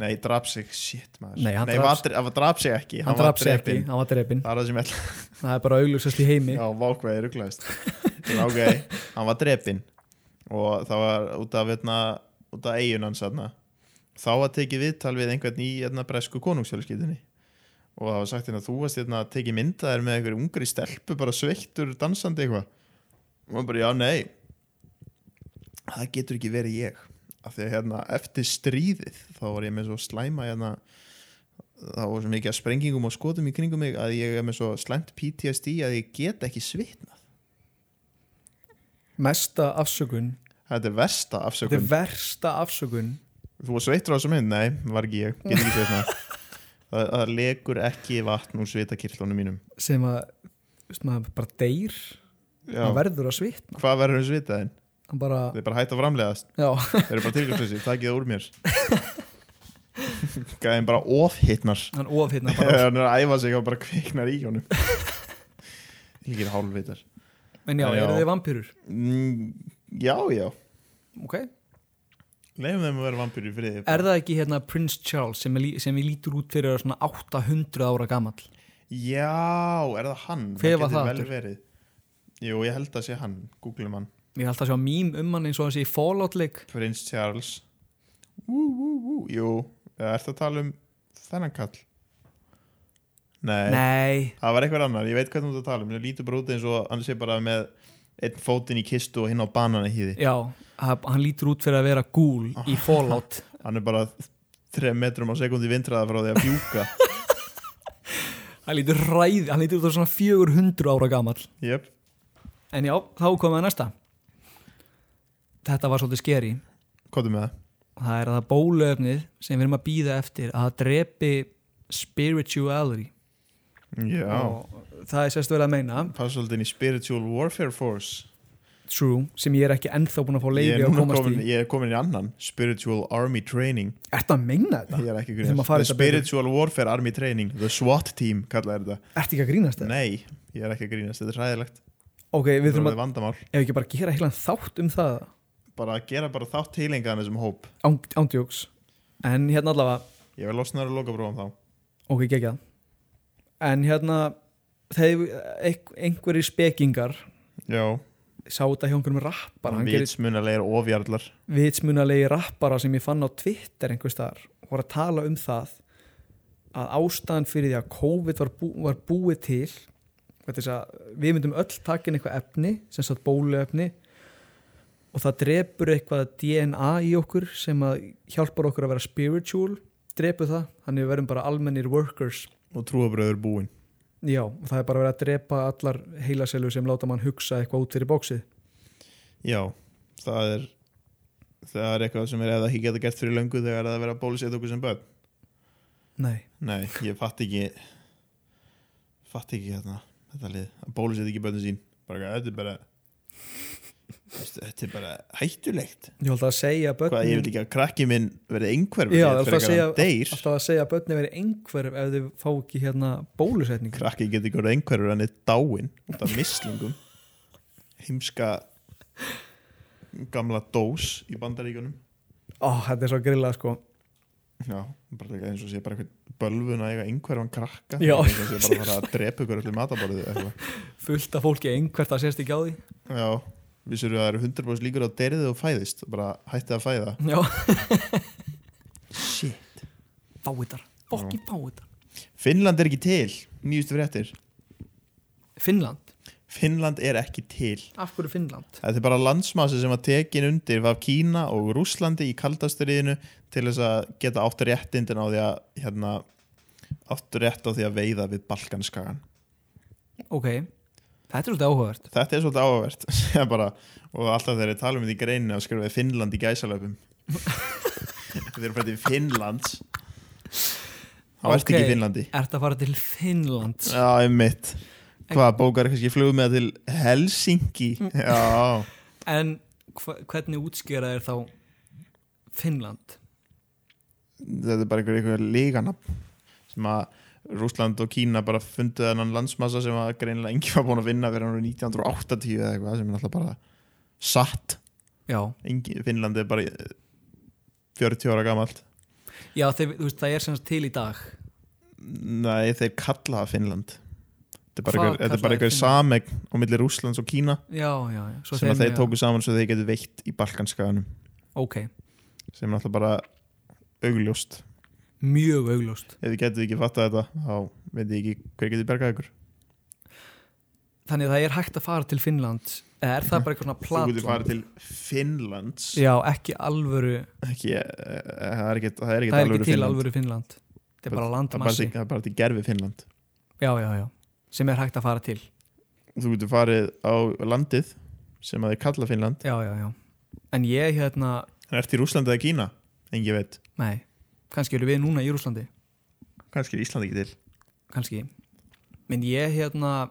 Speaker 3: Nei, draf sig, shit maður
Speaker 2: Nei, hann
Speaker 3: Nei
Speaker 2: drap-
Speaker 3: var, dre- hann draf sig ekki
Speaker 2: hann
Speaker 3: var
Speaker 2: draf sig ekki,
Speaker 3: drepinn.
Speaker 2: hann var drepin
Speaker 3: Það er það sem ég ætla
Speaker 2: það er bara augljósast í heimi
Speaker 3: Já, vákvæði rugglaðist Ok, hann var drepinn og það var út af veitna, út af eigin hans þarna þá var tekið viðtal við einhvern í hérna, bresku konungsfjölskyldinni og það var sagt hérna þú varst hérna að tekið myndaðir með einhverju ungri stelpu bara sveittur dansandi eitthvað og hann bara já nei það getur ekki verið ég af því að hérna eftir stríðið þá var ég með svo slæma hérna þá var svo mikið að sprengingum og skotum í kringum mig að ég er með svo slæmt PTSD að ég get ekki svitnað
Speaker 2: mesta afsökun,
Speaker 3: þetta er versta
Speaker 2: þetta
Speaker 3: afsökun
Speaker 2: er versta afsökun
Speaker 3: þú var sveittur á þessu mynd, nei, var ekki ég get ekki svitnað það, það legur ekki vatn úr svitakirtlunum mínum
Speaker 2: sem að veist, maður bara deyr
Speaker 3: Já,
Speaker 2: hann verður að svitna
Speaker 3: hvað verður um svitaðin?
Speaker 2: hann bara,
Speaker 3: þeir bara hætta að framlegast,
Speaker 2: já,
Speaker 3: þeir eru bara tilgjóðsvisi takið það úr mér gæðin bara ofhittnar
Speaker 2: hann ofhitna bara
Speaker 3: hann er að æfa sig og bara kviknar í honum líkir hálfvitar
Speaker 2: en já,
Speaker 3: Já.
Speaker 2: eru þið vampýrur
Speaker 3: mm, já, já,
Speaker 2: ok,
Speaker 3: leifum þeim að vera vampýri friði
Speaker 2: er það ekki hérna Prince Charles sem, er, lí- sem við lítur út fyrir að vera svona 800 ára gamall
Speaker 3: Já, er það hann?
Speaker 2: Hver var
Speaker 3: getur
Speaker 2: það
Speaker 3: vel
Speaker 2: aftur?
Speaker 3: verið. Jú, ég held að sé hann, googlum hann
Speaker 2: ég held að sjá mím um hann eins og þessi Fallout-leik
Speaker 3: Prince Charles Ú, ú, ú, jú Er það að tala um þennan kall? Nei,
Speaker 2: nei,
Speaker 3: það var eitthvað annar, ég veit hvað þú ert að tala um Ég lítur bara út eins og hann sé bara með einn fótinn í kistu og hinn á banana hýði
Speaker 2: já, hann hann lítur út fyrir að vera gúl
Speaker 3: Oh.
Speaker 2: í Fallout
Speaker 3: Hann er bara 3 metrum á sekundi vindraða frá því að fjúka
Speaker 2: hann lítur ræði, hann lítur út á svona 400 ára gamall
Speaker 3: Jöp,
Speaker 2: en já, þá komum við að næsta þetta var svolítið skeri
Speaker 3: komdu með það
Speaker 2: það er að það bólöfnið sem við erum að býða eftir að það drepi spirituality
Speaker 3: Já,
Speaker 2: og það er sérst vel að meina
Speaker 3: passa svolítið inn í Spiritual Warfare Force
Speaker 2: true, sem ég er ekki ennþá búin að fá
Speaker 3: ég
Speaker 2: leiði
Speaker 3: er,
Speaker 2: að
Speaker 3: núna
Speaker 2: komast
Speaker 3: komin,
Speaker 2: í
Speaker 3: ég er komin í annan Spiritual Army Training
Speaker 2: Ertu að meina þetta?
Speaker 3: Ég er ekki
Speaker 2: Þeim
Speaker 3: að grínast
Speaker 2: Ah. að fara
Speaker 3: The
Speaker 2: þetta betur.
Speaker 3: Spiritual Warfare Army Training The SWAT Team kallaði þetta
Speaker 2: Ertu ekki að grínast þetta?
Speaker 3: Nei, ég er ekki að grínast, þetta er hræðilegt
Speaker 2: Ok, við
Speaker 3: Þetta
Speaker 2: þurfum
Speaker 3: er
Speaker 2: að,
Speaker 3: vandamál
Speaker 2: ef ekki bara að gera heilan þátt um það
Speaker 3: Bara að gera bara þátt heilingaðan þessum hóp
Speaker 2: Án- ándjóks En hérna allavega,
Speaker 3: Ég vil losnaður að loka bróðum þá
Speaker 2: ok, gegja En hérna, þeir, eik- einhverjir spekingar
Speaker 3: Já,
Speaker 2: sá þetta hjá einhverjum rappara hann gerir
Speaker 3: vitsmunalegir ofjarlar
Speaker 2: vitsmunalegi rappara sem ég fann á Twitter einhvers staðar og var að tala um það að ástæðan fyrir því að COVID var, bú, var búið til var þess að við myndum öll takin eitthvað efni, sem sagt bóluefni og það drepur eitthvað DNA í okkur sem að hjálpar okkur að vera spiritual drepur það, þannig við verum bara almennir workers
Speaker 3: Og trúabröður búin
Speaker 2: já, og það er bara að vera að drepa allar heilaselur sem láta mann hugsa eitthvað út fyrir bóksið
Speaker 3: Já, það er Það er eitthvað sem er eða ekki geta gert fyrir löngu þegar það er að vera að bólusett okkur sem börn
Speaker 2: nei,
Speaker 3: Nei, ég fatt ekki fatt ekki hérna þetta lið, að bólusett ekki börnum sín bara, eitthvað, þetta er bara Veistu, þetta er bara hættulegt
Speaker 2: ég held að segja börnum
Speaker 3: Hvað, ég vil ekki að krakki minn verði
Speaker 2: Já,
Speaker 3: einhverf ég vil
Speaker 2: alltaf að,
Speaker 3: frekar
Speaker 2: segja,
Speaker 3: hann deyr
Speaker 2: alltaf að segja að börni verið einhverf ef þau fá ekki hérna bólusetning
Speaker 3: krakki getur ekki verið einhverfur hann er dáinn út af mislingum heimska gamla dós í bandaríkunum
Speaker 2: Ó, þetta er svo grilla sko
Speaker 3: já, bara líka eins og sé bara einhvern bölvun að eiga einhverfan krakka
Speaker 2: Já.
Speaker 3: eins og sé bara að fara að drepa ykkur öllu matabórið eða eitthvað
Speaker 2: fullt af fólki einhvert að sérst ekki á því
Speaker 3: já, vissur við að það eru 100% líkur á deyrið og fæðist, bara hættið að fæða
Speaker 2: Já,
Speaker 3: shit,
Speaker 2: fáiðar, fokki fáiðar
Speaker 3: Finnland er ekki til nýjustu fréttir,
Speaker 2: Finnland,
Speaker 3: Finnland er ekki til
Speaker 2: af hverju Finnland?
Speaker 3: Þetta er bara landsmassi sem var tekin undir af Kína og Rúslandi í kaldastriðinu til þess að geta átt réttindin á því að hérna, átt rétt á því að veiða við Balkanskagan
Speaker 2: Ok, Þetta er svolítið áhugavert
Speaker 3: Þetta er svolítið áhugavert Ég bara, og alltaf þegar ég tala um þetta í greinu að skrifa Finnland í gæsalöpum þeir eru fættið Finnlands þá okay. ertu ekki í Finnlandi
Speaker 2: Ertu að fara til Finnlands
Speaker 3: Já, einmitt Hvað, bókar kannski flugum með til Helsinki Já,
Speaker 2: En hva, hvernig útskýra er þá Finnland?
Speaker 3: þetta er bara einhver, einhver líganab sem að Rússland og Kína bara fundu þennan landsmassa sem að greinilega engi var búin að vinna verið árið 1980 eða eitthvað sem er alltaf bara satt
Speaker 2: Já,
Speaker 3: Engi, Finnland er bara eh, 40 ára gamalt
Speaker 2: Já þeir, þú veist, það er sem sagt til í dag
Speaker 3: Nei, þeir kalla það Finnland Þetta er bara
Speaker 2: Hvað
Speaker 3: einhver- þetta er bara
Speaker 2: kalla þeir
Speaker 3: einhver sameg á milli Rússlands og Kína
Speaker 2: Já, já, já Svo
Speaker 3: sem að
Speaker 2: þeim-
Speaker 3: þeir tóku saman svo þeir getur veitt í Balkanskaganum
Speaker 2: Ok,
Speaker 3: sem er alltaf bara augljóst
Speaker 2: mjög augljóst
Speaker 3: Ef þið getur ekki fattað þetta þá veit ég ekki hver getur bergað ykkur
Speaker 2: Þannig að það er hægt að fara til Finnland Eða er það bara eitthvað svona
Speaker 3: Mhm. Þú getur
Speaker 2: platland?
Speaker 3: farið til Finnlands
Speaker 2: Já, ekki alvöru
Speaker 3: ekki, eh, það er ekkert það er ekkert
Speaker 2: Það er
Speaker 3: alvöru
Speaker 2: ekki til
Speaker 3: Finnland.
Speaker 2: alvöru Finnland Þetta er bara
Speaker 3: það er bara,
Speaker 2: landmassi
Speaker 3: til- það er bara til gerfi Finnland
Speaker 2: Já, já, já Sem er hægt að fara til
Speaker 3: þú getur farið á landið sem að þið kalla Finnland
Speaker 2: Já, já, já En ég hérna,
Speaker 3: en ert í Rússlandi eða Kína? Engi veit,
Speaker 2: nei Kannski eru við núna í Rúslandi
Speaker 3: kannski er Ísland ekki til
Speaker 2: kannski menn ég hérna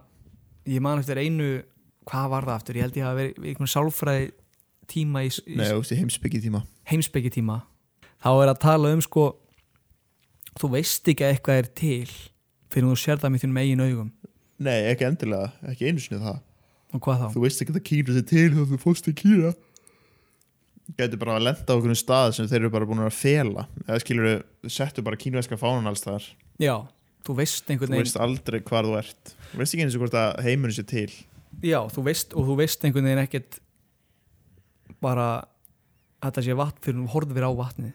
Speaker 2: ég man eftir einu, hvað var það aftur ég held ég hafa verið í einhvern sálfræði tíma í, í
Speaker 3: Nei, þú veist í heimsbyggi tíma
Speaker 2: heimsbyggi tíma þá er að tala um sko þú veist ekki að eitthvað er til fyrir þú sér það með þínum eigin augum
Speaker 3: Nei, ekki endilega, ekki einu sinni það
Speaker 2: og hvað þá?
Speaker 3: Þú veist ekki að Kína sér til þá þú fórst í Kína Gæti bara að lenda á okkur stað sem þeir eru bara búin að fela eða skilur þau, settu bara kínverska fánan alls þar
Speaker 2: Já, þú veist einhvern
Speaker 3: Þú
Speaker 2: veginn
Speaker 3: veist aldrei hvar þú ert Þú veist ekki eins og hvort að heimurinn sér til
Speaker 2: Já, þú veist og þú veist einhvern veginn ekkert bara að það sé vatn fyrir þú horfður á vatnið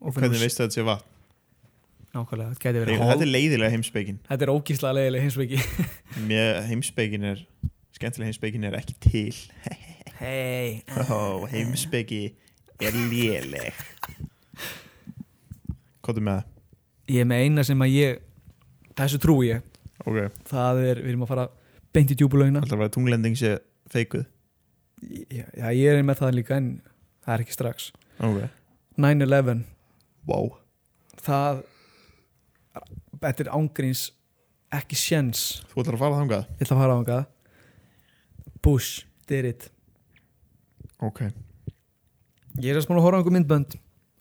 Speaker 2: og
Speaker 3: Hvernig
Speaker 2: þú-
Speaker 3: veistu að þetta sé vatn?
Speaker 2: nákvæmlega, þetta gæti verið
Speaker 3: Þetta
Speaker 2: hól
Speaker 3: er leiðilega heimsbyggi
Speaker 2: Þetta er ógíslega leiðileg heimsbyggi
Speaker 3: Mér heimsbegin er skemmtilega heimsbegin er ekki til
Speaker 2: Hei
Speaker 3: Ó, heimsbegi er léleg Kottu með
Speaker 2: Ég er með eina sem að ég Þessu trúi ég
Speaker 3: það Ok,
Speaker 2: Það er, við erum að fara beint í djúbulögina
Speaker 3: alltaf að tunglending sé feikuð
Speaker 2: Já, já, ég er með það líka en það er ekki strax
Speaker 3: Ok,
Speaker 2: 9-11
Speaker 3: wow
Speaker 2: Það Þetta er ángríns Ekki sjens
Speaker 3: Þú ætlar að fara þangað?
Speaker 2: Ég ætla að fara á hana Bush, did it
Speaker 3: Ok
Speaker 2: Ég er að smána að horfa á einhver myndbönd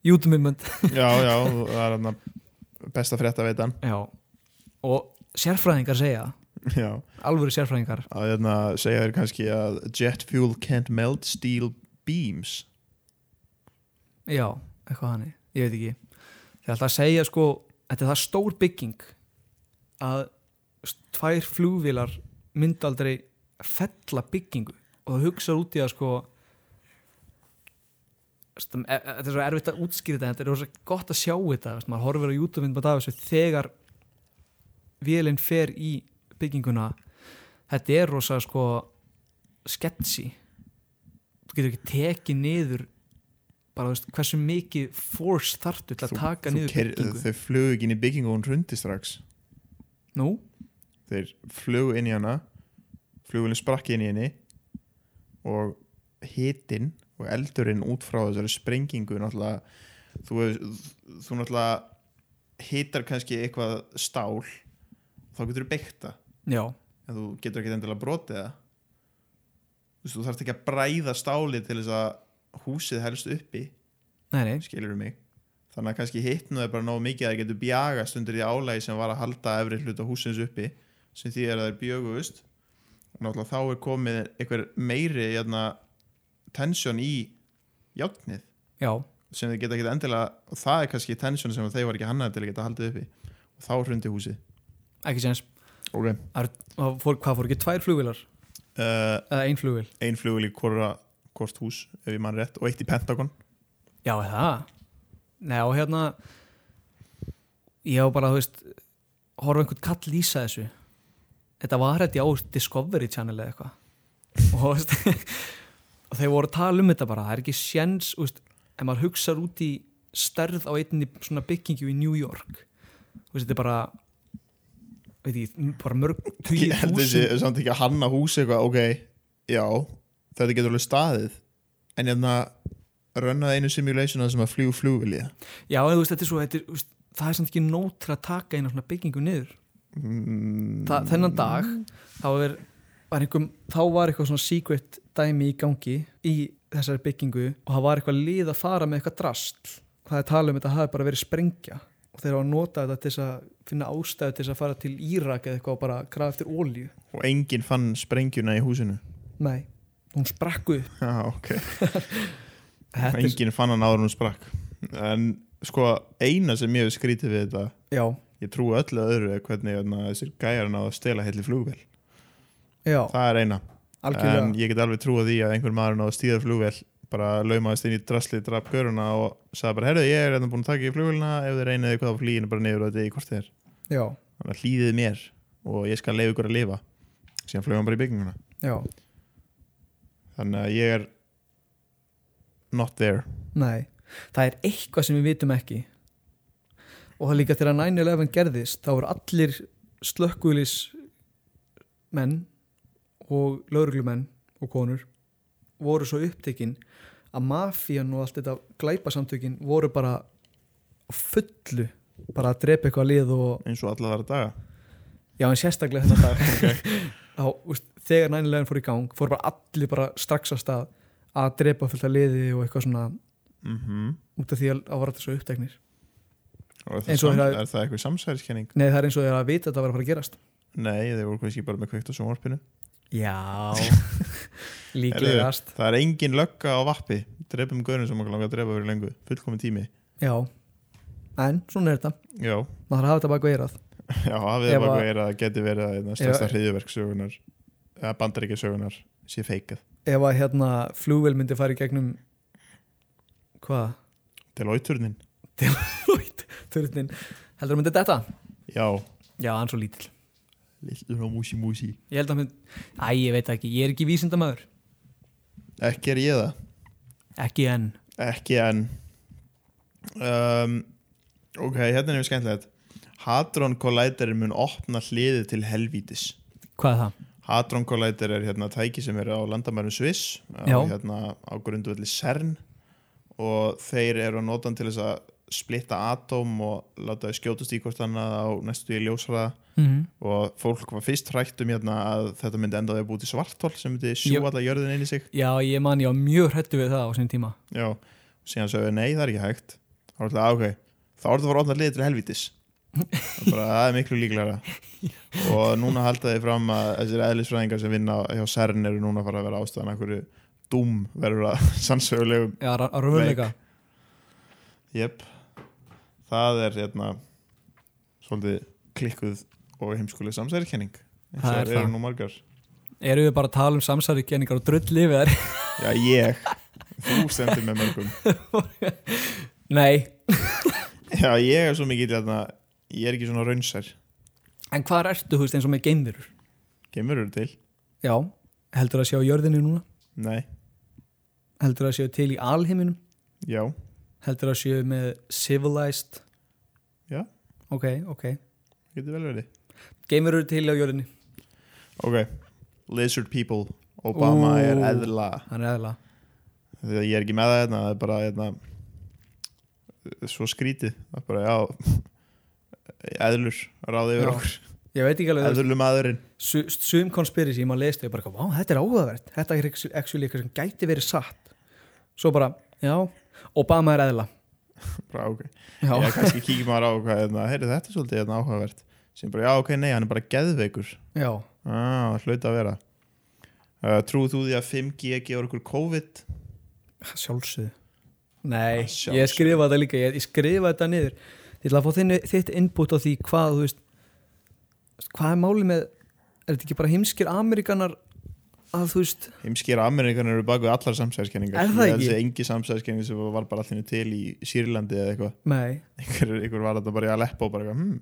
Speaker 2: YouTube myndbönd
Speaker 3: Já, já, það er hann besta frétta veitan
Speaker 2: Já Og sérfræðingar segja
Speaker 3: Já,
Speaker 2: Alvöru sérfræðingar
Speaker 3: að hérna segja þér kannski að jet fuel can't melt steel beams
Speaker 2: Já, eitthvað hannig, ég veit ekki Þegar alltaf að segja sko Þetta er það stór bygging að s- tvær flugvilar myndu aldrei fella byggingu og það hugsa út í að sko stum, e, e, þetta er svo erfitt að útskýra þetta en þetta er rosa gott að sjá þetta veist, maður horfir á YouTube myndband af þessu þegar vélinn fer í bygginguna þetta er rosa sko sketsi þú getur ekki tekið niður bara þú veist, hversu mikið force þartu til að taka niður
Speaker 3: keir-
Speaker 2: byggingu
Speaker 3: Þau flugu ekki inn í byggingu og hún hrundi strax
Speaker 2: nú,
Speaker 3: þeir flugu inn í hana flugulinn sprakk inn í henni og hitinn og eldurinn út frá þessari sprengingu náttúrulega þú, hefur- þú náttúrulega hitar kannski eitthvað stál þá getur þú byggt það
Speaker 2: já
Speaker 3: en þú getur ekki endilega brotið það þú, veist, þú þarft ekki að bræða stáli til þess að húsið helst uppi
Speaker 2: Nei, nei,
Speaker 3: skilur mig þannig að kannski hittnum þeir bara nógu mikið að þeir getur bjagast undir því álægi sem var að halda efri hluta húsins uppi sem því er að þeir bjögust og náttúrulega þá er komið einhver meiri jæna, tensjón í játnið
Speaker 2: já,
Speaker 3: sem þeir geta ekki endilega og það er kannski tensjón sem þeir var ekki hannaði til að geta haldið uppi og þá hrundi húsið
Speaker 2: ekki séns
Speaker 3: okay.
Speaker 2: Það fór, Hvað fór ekki tvær flugvilar?
Speaker 3: uh,
Speaker 2: Eða ein flugvil?
Speaker 3: ein flugul í hvora hvort hús ef ég mann rétt og eitt í Pentagon
Speaker 2: Já, er það Nei, og hérna Ég á bara, þú veist Horfa einhvern kall lýsa þessu Þetta var þetta á Discovery Channel eða eitthvað Og þú veist Og þeir voru að tala um þetta bara Það er ekki séns, þú veist Ef maður hugsar út í stærð á einni svona byggingu í New York Þú veist, þetta er bara veit ég, bara mörg tugi
Speaker 3: ég held þessi
Speaker 2: þúsund
Speaker 3: samt ekki að hanna hús eitthvað ok, já, þetta getur alveg staðið en ég þannig að rönnaði einu simulation að sem að fljú flugvilja
Speaker 2: já, en þú veist, þetta er svo, þetta er, þú veist, það er samt ekki nóg til að taka eina svona byggingu niður
Speaker 3: mm,
Speaker 2: Þa, þennan dag þá er, var einhver þá var eitthvað svona secret dæmi í gangi í þessari byggingu og það var eitthvað lið að fara með eitthvað drast það er talað um þetta hafi bara verið sprengja og þeir hafa notað þetta til þess að finna ástæðu til þess að fara til Írak eða eitthvað og bara krafa eftir ólíu
Speaker 3: og enginn fann sprengjuna í húsinu
Speaker 2: nei, hún sprakk upp
Speaker 3: já, ok,
Speaker 2: Þetta er-
Speaker 3: enginn fann hann áður en hún sprakk en sko, eina sem ég hef skrítið við þetta
Speaker 2: já,
Speaker 3: ég trúi öllu öðru er hvernig hérna, þessir gæjar náðu að stela heilli flugvél
Speaker 2: já,
Speaker 3: það er eina,
Speaker 2: algjörlega
Speaker 3: en ég get alveg trúið því að einhver maður náðu að stíða flugvél bara laumaðist inn í drasli, draf göruna og sagði bara, herðu, ég er hérna búin að taka í flugvélina ef þið reynið eitthvað á flýinu bara niður og þetta er í hvort þið er
Speaker 2: já,
Speaker 3: þannig að hlýðið mér og ég skal leiða ykkur að lifa síðan flög hann bara í bygginguna
Speaker 2: já,
Speaker 3: þannig að ég er not there
Speaker 2: nei það er eitthvað sem við vitum ekki og það er líka þegar 9-11 gerðist þá voru allir slökkulis menn og lauruglumenn og konur voru svo upptekinn að mafían og allt þetta glæpasamtökin voru bara á fullu bara að drepa eitthvað lið og
Speaker 3: eins og alla þar að daga
Speaker 2: já en sérstaklega þetta dag þá, úst, þegar 9-11 fór í gang fór bara allir bara strax að stað að drepa fullt að liði og eitthvað svona
Speaker 3: mm
Speaker 2: út af því að það var alltaf svo uppteknir
Speaker 3: og er það,
Speaker 2: Eins og hérna-
Speaker 3: sam,
Speaker 2: þeirra-
Speaker 3: er það eitthvað samsæriskenning?
Speaker 2: Nei, það er eins og þeir að vita að það var að fara að gerast
Speaker 3: Nei, þeir voru kannski bara með kveikt á sjónvarpinu
Speaker 2: Já Líklegast
Speaker 3: það er engin lögga á vappi drefum gaurinn sem okkur langar að drefa fyrir lengu fullkomin tími
Speaker 2: Já En, svona er þetta
Speaker 3: já,
Speaker 2: Maður þarf að hafa þetta bak veirað
Speaker 3: já hafið
Speaker 2: Ef
Speaker 3: það
Speaker 2: að-
Speaker 3: bara er að það geti verið að einna stærsta
Speaker 2: Ef-
Speaker 3: hriðuverksögunar eða bandaríkjasögunar sé feikað
Speaker 2: Ef að hérna flugvél myndi fara í gegnum Hvað?
Speaker 3: til óitturnin
Speaker 2: Lóit, turnin Heldur að myndi þetta?
Speaker 3: já,
Speaker 2: Já, hann er svo lítill
Speaker 3: lillur og músi músi
Speaker 2: Ég held að hann myndi Æ, ég veit það ekki, ég er ekki vísindamöður
Speaker 3: ekki er ég það
Speaker 2: Ekki enn
Speaker 3: Ekki enn um, Ok, hérna er við skemmtilegt Hadron Collider mun opna hliðið til helvítis
Speaker 2: Hvað er það?
Speaker 3: Hadron Collider er hérna tæki sem er á landamærum Sviss á,
Speaker 2: Já.
Speaker 3: hérna, á grundvelli CERN og þeir eru að nota hann til þess að splitta atóm og láta þau skjótast í hvort annað á næstu í ljósraða
Speaker 2: Mm
Speaker 3: og fólk var fyrst hrætt um hérna að þetta myndi enda á því að búti svartól sem myndi sjú
Speaker 2: Jú.
Speaker 3: alla jörðin inn í sig
Speaker 2: Já, ég man, ég var mjög hrættu við það á sinni tíma
Speaker 3: Já, síðan sagði nei, það er ekki hægt þá er það ok, þá er það að fara ofna liðið til helvítis það er bara, "Ah, það er miklu líklara og núna halda þið fram að þessir eðlisfræðingar sem vinna hjá CERN eru núna að fara að vera ástæðan af hverju dúm verður að sannsögulegum
Speaker 2: Já, ra- á raunleika
Speaker 3: Jep, það er hérna svolítið klikkuð og heimskuleg samsærikenning eins og
Speaker 2: Það er
Speaker 3: það eru
Speaker 2: það.
Speaker 3: nú margar
Speaker 2: Erum við bara að tala um samsæri og drulli við þær?
Speaker 3: Já, ég, þú stendur með mörgum
Speaker 2: Nei,
Speaker 3: Já, ég er svo mikið hérna, ég er ekki svona raunsær
Speaker 2: En hvað ertu, þú veist, eins og með geimverur?
Speaker 3: kemur eru til
Speaker 2: Já, heldur að sjá jörðinu núna?
Speaker 3: Nei,
Speaker 2: Heldur að sjá til í alheiminum?
Speaker 3: já,
Speaker 2: Heldur að sjá með civilized?
Speaker 3: Já.
Speaker 2: Ok, ok.
Speaker 3: getur vel verið
Speaker 2: Geimverur eru til á jörðinu,
Speaker 3: Ok, lizard people Obama
Speaker 2: Ú.
Speaker 3: er eðla
Speaker 2: hann er eðla.
Speaker 3: Þegar ég er ekki með það hérna, það er bara hérna svo skrítið það er bara, já eðlur, ráði yfir
Speaker 2: Já.
Speaker 3: okkur
Speaker 2: Ég veit ekki alveg,
Speaker 3: eðlum aðurinn
Speaker 2: Su- sum conspiracy, ég maður leist þau bara, eitthvað, vá, þetta er áhugavert, þetta er actually- actually eitthvað sem gæti verið satt. Svo bara, já, Obama er eðla.
Speaker 3: bara, ok,
Speaker 2: Já,
Speaker 3: ég kannski kíkja maður á hvað hérna, heyri þetta er svolítið hérna áhugavert sem bara, já ok, nei, hann er bara geðveikur
Speaker 2: já,
Speaker 3: ah, hlaut að vera uh, trúið þú því að 5G gefur okkur COVID
Speaker 2: sjálfsögðu. Nei,
Speaker 3: Að
Speaker 2: ég
Speaker 3: sjálfsögðu.
Speaker 2: skrifa þetta líka, ég, ég skrifa þetta niður. Ég ætla að fá þinni, þitt input á því hvað, þú veist, hvað er máli með, er þetta ekki bara heimskir Amerikanar að þú veist,
Speaker 3: Heimskýra Amerikanar eru bak við allar samsæðiskenningar
Speaker 2: Er það
Speaker 3: Ég held
Speaker 2: ekki?
Speaker 3: sé engi samsæðiskenning sem var bara allir til í Sýrlandi eða eitthvað
Speaker 2: nei,
Speaker 3: einhver, einhver var þetta bara í að leppa og bara eitthvað hmm.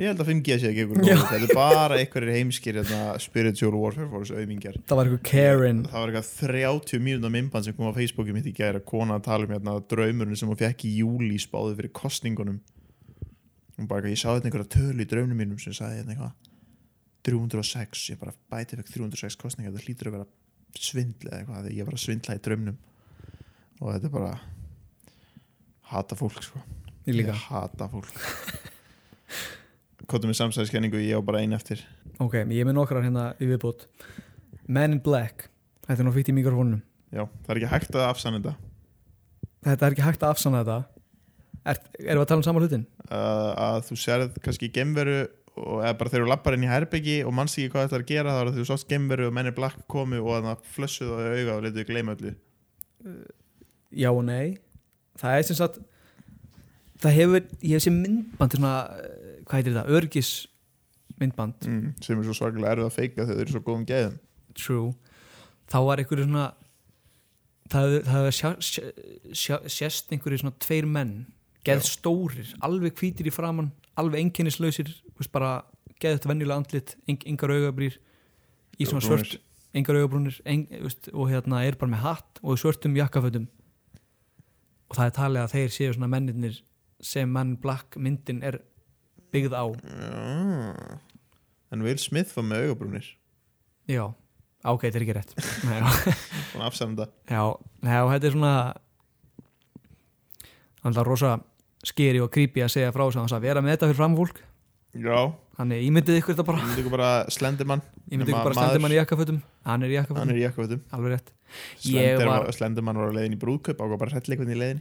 Speaker 3: Ég held að 5G sé ekki einhver
Speaker 2: Já.
Speaker 3: góð Þetta er bara einhverjir heimskýr hérna, spiritual warfare force auðmingjar
Speaker 2: það var eitthvað Karen,
Speaker 3: Það var eitthvað 30 mínúna mymband sem kom á Facebooki mitt í gæra kona að tala um hérna, draumurinn sem hún fekk í júli spáði fyrir kostningunum hún bara, eitthvað, ég sá þetta einhverja tölu í draunum mínum sem sagði hérna eitthvað 306, ég bara bæti fekk 306 kostningar, það hlýtur að vera svindl eða eitthvað, því ég var að svindla í draunum og þetta er bara hata fólk sko
Speaker 2: Ég líka.
Speaker 3: hata fólk Kvotum við samsæðiskenningu, ég á bara ein eftir
Speaker 2: Ok, ég er með nokkrar hérna í viðbútt Men in Black Þetta er nú fýtt í mikrofónum
Speaker 3: Já, það er ekki hægt að afsanna þetta
Speaker 2: Þetta er ekki hægt að afsanna þetta er, Erum við að tala um saman hlutin?
Speaker 3: uh, að þú sérð kannski gemveru og eða bara þegar þú lappar inn í herbyggi og manst ekki hvað þetta er að gera þá er það þú sást gemveru og mennir blakk komu og þannig að flössuð á þau auga og letu þau gleyma öllu
Speaker 2: Já og nei Það er sem sagt Það hefur, ég hef sér myndband svona, eh, Hvað heitir þetta? Örgis myndband
Speaker 3: mm, sem er svo svakalega erfið að feika þegar þau eru svo góðum gæðum
Speaker 2: True Þá var einhverju svona Það hefur sjá, sjá, sjá, sést einhverju svona tveir menn Geð stórir, alveg hvítir í framann Alveg einkennislausir þú veist, bara Geð þetta venjulega andlit eng, Engar augabrýr Í svona
Speaker 3: Augabrúnir.
Speaker 2: svört, engar augabrúnir eng, þú veist, Og hérna er bara með hatt Og í svörtum jakkafötum Og það er talið að þeir séu svona mennirnir Sem menn black myndin er Byggð á
Speaker 3: Já. en Will Smith var með augabrúnir
Speaker 2: Já, Á, ok, þetta er ekki rétt Nei, já
Speaker 3: svona afsanna þetta
Speaker 2: Já, já, þetta er svona hann er rosa skeri og creepy að segja frá þess að vera með þetta fyrir framfólk
Speaker 3: Já,
Speaker 2: þannig ímyndið ykkur þetta bara
Speaker 3: ég myndi ykkur bara slendimann
Speaker 2: ímyndið
Speaker 3: Nema
Speaker 2: ykkur bara
Speaker 3: maður-
Speaker 2: stendur mann í jakkafötum hann er í
Speaker 3: hann
Speaker 2: jakkafötum,
Speaker 3: er í jakkafötum
Speaker 2: alveg rétt Ég
Speaker 3: Slender
Speaker 2: var-
Speaker 3: var... slendimann var á leiðin í brúðkaup og bara hrettleikvinn í leiðin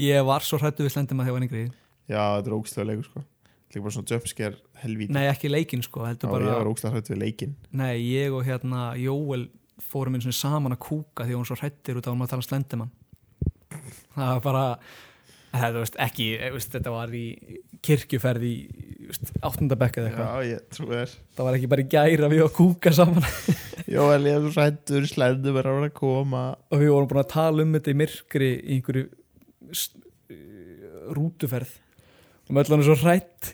Speaker 2: ég var svo hrættu við stendur mann þegar hann yngri
Speaker 3: Já, þetta er ógstlega leikur sko Líka bara svona jumpscare helvíti
Speaker 2: nei, ekki leikinn sko,
Speaker 3: Já,
Speaker 2: heldur bara
Speaker 3: ég var ógstlega hrætt við leikinn
Speaker 2: nei, ég og hérna Jóel fórum einu sinni saman að kúka því að hún var svo hrættir út af að hún var að tala stendur mann það var bara þetta, þú veist, ekki, þú veist, þetta var í kirkjuferði áttundabekka eða eitthvað
Speaker 3: Já, ég trú þér
Speaker 2: það var ekki bara í gæra við að kúka saman
Speaker 3: Jóel, ég er svo sættur, slendur verður að vera að koma
Speaker 2: og við vorum búin að tala um þetta í myrkri í einhverju s- eh, rútuferð og með allan er svo hrætt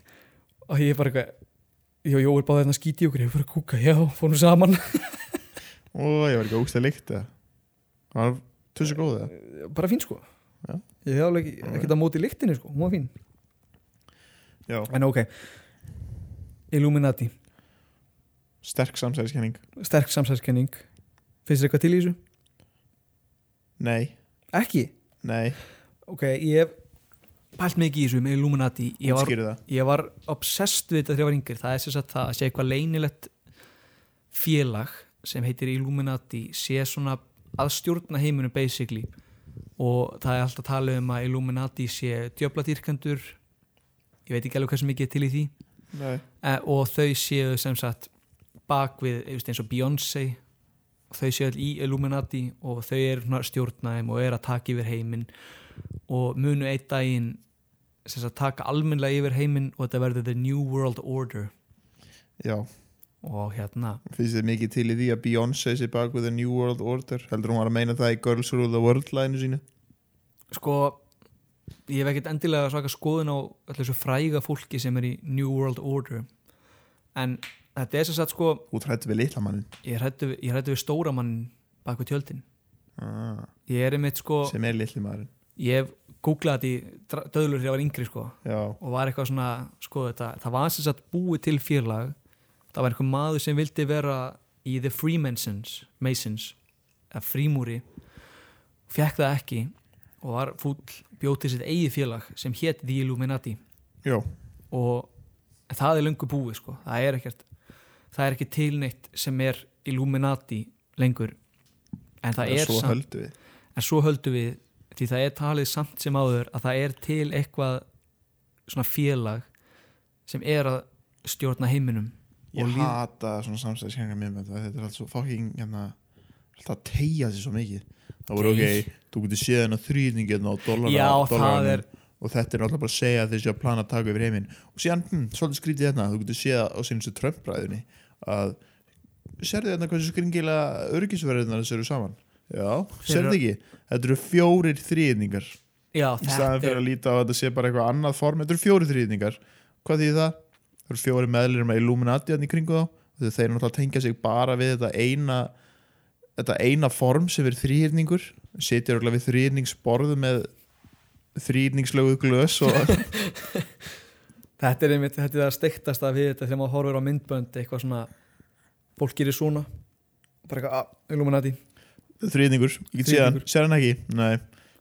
Speaker 2: og ég er bara eitthvað Jó, Jó er báðið hérna skíti í okkur, ég er bara að kúka, já, fórum saman
Speaker 3: Ó, ég var ekki ógstlega líkt það Það var tussu góð það
Speaker 2: Bara fín sko
Speaker 3: Já.
Speaker 2: Ég hef alveg ekkert að móti líktinni sko, hún var fín
Speaker 3: Já,
Speaker 2: En ok, Illuminati,
Speaker 3: sterk samsæðiskenning
Speaker 2: sterk samsæðskenning Finnst þér eitthvað til í þessu?
Speaker 3: Nei,
Speaker 2: Ekki
Speaker 3: nei,
Speaker 2: Ok, ég hef pælt mikið í þessu með Illuminati Ég var
Speaker 3: útskýri það
Speaker 2: ég var obsessed við þetta þegar ég var yngri það er sem sagt það að sé eitthvað leynilegt félag sem heitir Illuminati sé svona að stjórna heiminu basically og það er alltaf að tala um að Illuminati sé djöfladýrkendur ég veit ekki alveg hversu mikið er til í því
Speaker 3: Nei,
Speaker 2: eh, og þau séu sem sagt bak við þú veist, eins og Beyoncé þau séu all í Illuminati og þau eru svona að stjórna þeim og eru að taka yfir heiminn og munu einn daginn sem sagt taka almennlega yfir heiminn og þetta verður The New World Order
Speaker 3: já,
Speaker 2: og hérna
Speaker 3: finnst þið mikið til í því að Beyoncé sé bak with a new world order Heldur hún var að meina það í Girls Rule the World læginu sínu
Speaker 2: sko ég hef ekkert endilega svaka skoðun á öllu þessu fræga fólki sem er í New World Order en þetta er sem sagt sko
Speaker 3: Út hrættu við litla mannin
Speaker 2: ég hrættu við, ég hræddur við stóra mann bak við tjöldin
Speaker 3: ah,
Speaker 2: ég er einmitt sko
Speaker 3: Sem er litli maðurinn
Speaker 2: ég hef googlað þetta í dra- döðlur þegar ég var yngri sko
Speaker 3: Já,
Speaker 2: og var eitthvað svona sko þetta, það var sem sagt búið til félag það var einhver maður sem vildi vera í The Freemasons Masons, eða frímúri fekk það ekki og var fúll bjótið sitt eigið félag sem hétt The Illuminati
Speaker 3: já,
Speaker 2: og það er lengur búið sko það er ekkert það er ekki tilneitt sem er Illuminati lengur en það, er,
Speaker 3: svo
Speaker 2: samt
Speaker 3: höldu við
Speaker 2: en svo höldum við því það er talið samt sem áður að það er til eitthvað svona félag sem er að stjórna heiminum
Speaker 3: Ég
Speaker 2: Og líð-
Speaker 3: hata svona samstæðiskenningar mér með þetta Þetta er allt svo fucking hérna, Alltaf að tegja sér svo mikið Það voru
Speaker 2: Nei.
Speaker 3: ok, þú getur séð hennar þrýðingin á dollara,
Speaker 2: Já, það
Speaker 3: dollaranum
Speaker 2: er-
Speaker 3: Og þetta er alltaf bara að segja að þeir séu að plana að taka yfir heiminn Og síðan, hm, svolítið skrítið þetta Þú getur séð á sínustu Trump-ræðunni Að, sérðu þetta hversu skringilega örgisverðinar þessu eru saman Já,
Speaker 2: eru-
Speaker 3: sérðu ekki Þetta eru fjórir þrýðningar
Speaker 2: já
Speaker 3: Í
Speaker 2: þetta
Speaker 3: staðan fyrir
Speaker 2: er,
Speaker 3: að líta á að þetta sé bara eitthvað annað form Þetta eru fjóri þrýðningar Hvað þýðir það? Það eru fjóri meðlir með Illuminati hann í kringu þá Þegar þeir náttúrulega tengja sig bara við þetta eina Þetta eina form sem er þrýðningur Sitja örugglega við þrýðningsborðu með þrýrningslöguð glös og
Speaker 2: Þetta er einmitt, þetta er það steiktast að við þetta þegar maður horfir á myndbönd eitthvað svona, fólk gerir svona bara eitthvað, að, Illuminati
Speaker 3: þrýrningur, ég get séð hann,
Speaker 2: Þríhyrningur.
Speaker 3: sér hann ekki nei,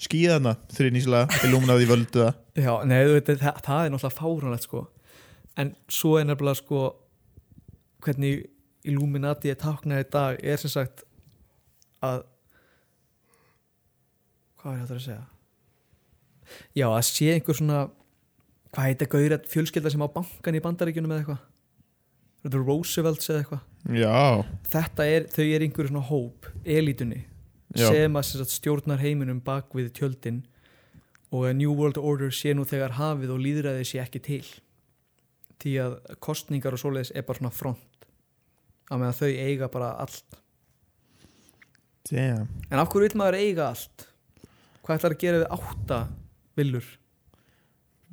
Speaker 3: skýða hann það, þrýrningslega illuminaði völdu það,
Speaker 2: Já, nei, þú veit, það, það er náttúrulega fáránlegt sko en svo er nefnilega sko hvernig Illuminati er táknað í dag er sem sagt að hvað er þetta að segja Já, að sé einhver svona hvað heita gauðir fjölskylda sem á bankan í bandaríkjunum eða eitthvað Þetta er Roosevelts eða eitthvað
Speaker 3: já
Speaker 2: þetta er, þau er einhverjum svona hóp elitunni
Speaker 3: Já.
Speaker 2: sem að sem sagt, stjórnar heiminum bak við tjöldin og að New World Order sé nú þegar hafið og líðræði sé ekki til því að kostningar og svoleiðis er bara svona front að meðan þau eiga bara allt
Speaker 3: damn,
Speaker 2: en af hverju vil maður eiga allt? hvað ætlar að gera við átta villur?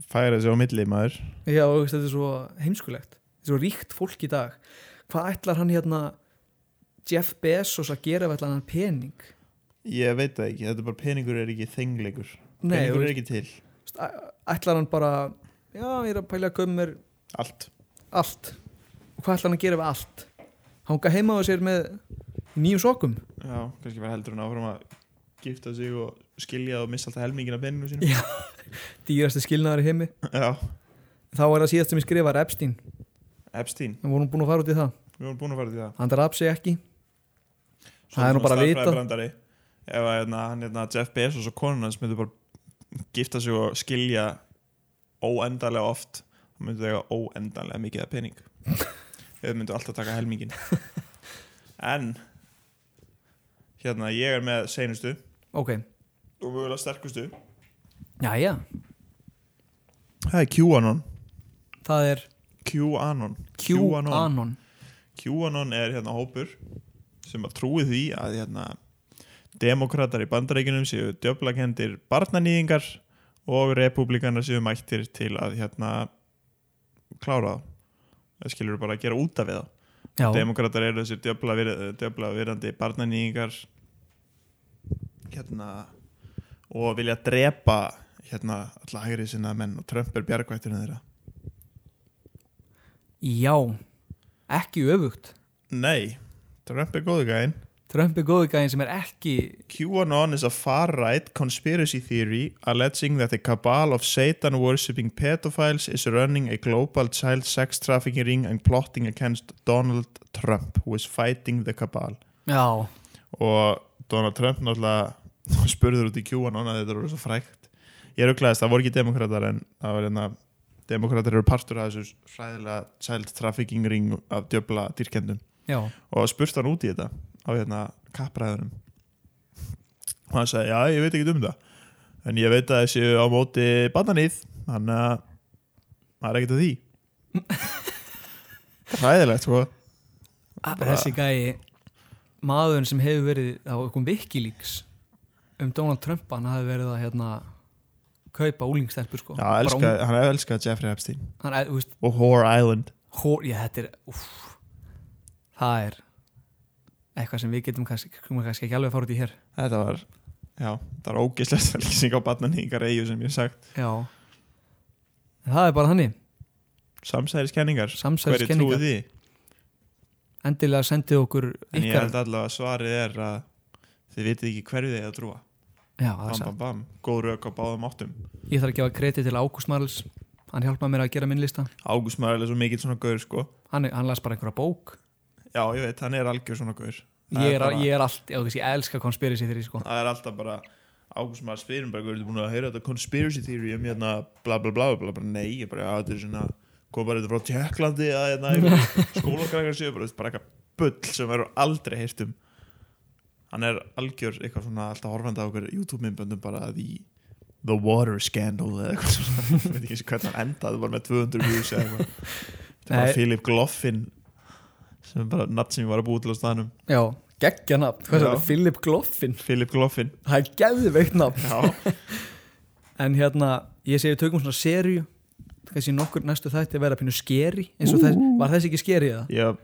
Speaker 3: færa þessi á milli maður
Speaker 2: Já, og þetta er svo heimskulegt þetta er svo ríkt fólk í dag hvað ætlar hann hérna Jeff Bezos að gera við ætlar hann pening?
Speaker 3: ég veit það ekki, þetta er bara peningur er ekki þengleikur,
Speaker 2: Nei, þú
Speaker 3: peningur
Speaker 2: veist-
Speaker 3: er ekki til
Speaker 2: Veist, æ- ætlar hann bara já, ég er að pæla að köpa mér
Speaker 3: allt,
Speaker 2: allt og hvað ætlar hann að gera við allt hanga heima á sér með nýjum sokum
Speaker 3: já, kannski bara heldur hann áfram að gifta sig og skilja og missa alltaf helmingin af peningum sínum
Speaker 2: Já. dýrasti skilnaðar í heimi
Speaker 3: já,
Speaker 2: þá er það síðast sem ég skrifar Epstein
Speaker 3: Epstein,
Speaker 2: við vorum búin að fara út í það
Speaker 3: við vorum búin að fara til það
Speaker 2: hann draf sig ekki
Speaker 3: Svo
Speaker 2: Það er nú
Speaker 3: svona
Speaker 2: bara að vita.
Speaker 3: stærðfræðibrandari. ef að hérna, hann hérna Jeff Bezos og konun hans myndu bara gifta sig og skilja óendanlega oft þá myndu þau eiga óendanlega mikið af pening eða myndu alltaf taka helmingin en hérna ég er með seinustu
Speaker 2: ok,
Speaker 3: og mögulega sterkustu
Speaker 2: já já,
Speaker 3: það er QAnon
Speaker 2: það er
Speaker 3: QAnon QAnon,
Speaker 2: QAnon
Speaker 3: QAnon er hérna hópur sem að trúi því að hérna, demokratar í bandarækjunum séu djöflakendir barnanýðingar og republikanar séu mættir til að hérna, klára það það skilur bara að gera út af við það
Speaker 2: já,
Speaker 3: demokrater eru þessir djöfla, vir, djöfla virðandi barnanýðingar hérna og vilja drepa hérna alla hægri sinna menn og Trump er bjargvætturinn þeirra
Speaker 2: já ekki öfugt
Speaker 3: nei, Trump er góðu gæinn
Speaker 2: Trump er góðu gæðin sem er ekki
Speaker 3: QAnon is a far-right conspiracy theory alleging that a cabal of Satan-worshipping pedophiles is running a global child sex trafficking ring and plotting against Donald Trump, who is fighting the cabal.
Speaker 2: já,
Speaker 3: Og Donald Trump náttúrulega spurður út í QAnon að þetta eru svo frækt. Ég er auklaðist, það voru ekki demokrater en það var hérna, demokrater eru partur af þessu fræðilega child trafficking ring af djöbla dýrkendum
Speaker 2: já,
Speaker 3: og spurt hann út í þetta á hérna kappræðunum og hann sagði, já ég veit ekki um það en ég veit að þessi á móti bannanýð, hann að maður er ekkert að því hræðilegt sko
Speaker 2: þessi gæi maðurinn sem hefur verið á einhverjum vikilíks um Donald Trump hann hafi verið að hérna kaupa úlingstelpur sko
Speaker 3: já,
Speaker 2: Bara
Speaker 3: elska, hann er elskað Jeffrey Epstein
Speaker 2: ung- hann, er, þú veist,
Speaker 3: og Whore Island
Speaker 2: hór, já, þetta er úf, það er eitthvað sem við getum kannski, komum kannski ekki alveg að fara út í hér
Speaker 3: þetta var, já, það var ógeðslegt lýsing á bannanýðingar eigu sem ég hef sagt
Speaker 2: já En það er bara hannig,
Speaker 3: samsæðiskenningar, hverju trúið
Speaker 2: samsæðiskenningar
Speaker 3: því
Speaker 2: endilega sendið okkur
Speaker 3: en ég
Speaker 2: ykkar
Speaker 3: held allavega að svarið er að þið vitið ekki hverju þið er að trúa
Speaker 2: já, það er
Speaker 3: bam
Speaker 2: satt.
Speaker 3: bam bam, góð rauk á báðum áttum
Speaker 2: ég þarf að gefa kreti til Ágúst Marls hann hjálpaði mér að gera minn lista
Speaker 3: Ágúst Maður er svo mikill svona gaur sko
Speaker 2: hann, hann las bara einhverja bók
Speaker 3: Já, ég veit, hann er algjör svona gaur Það
Speaker 2: ég er,
Speaker 3: bara,
Speaker 2: ég er allt, já, þú veist, ég elska conspiracy þeirri sko.
Speaker 3: Það er alltaf bara Ágúst Maður spyrum bara, er búin að heyra þetta conspiracy theory um hérna bla bla bla, bla, bla Nei, ég bara, já, þetta er svona kom bara þetta frá Tjekklandi að hérna skólakrækar séu, bara, þetta er bara eitthvað bull sem verður aldrei heyrt um Hann er algjör eitthvað svona alltaf horfandi á okkur YouTube-myndböndum bara að í The Water Scandal eða eitthvað svona, ég veit ekki eins og hvernig hann endaði bara með 200 views eða eitthvað Þetta er
Speaker 2: Nei.
Speaker 3: bara Philip Gloffin sem er bara natt sem ég var að búið til á staðnum
Speaker 2: já, geggja nafn, hvað
Speaker 3: Já.
Speaker 2: er það, Philip Gloffin
Speaker 3: Philip Gloffin
Speaker 2: það er geðveikt nafn
Speaker 3: Já,
Speaker 2: en hérna, ég segi við tökum svona serju kannski nokkur næstu þætti að vera pínu skeri eins og þess, var þessi ekki skeri eða?
Speaker 3: ég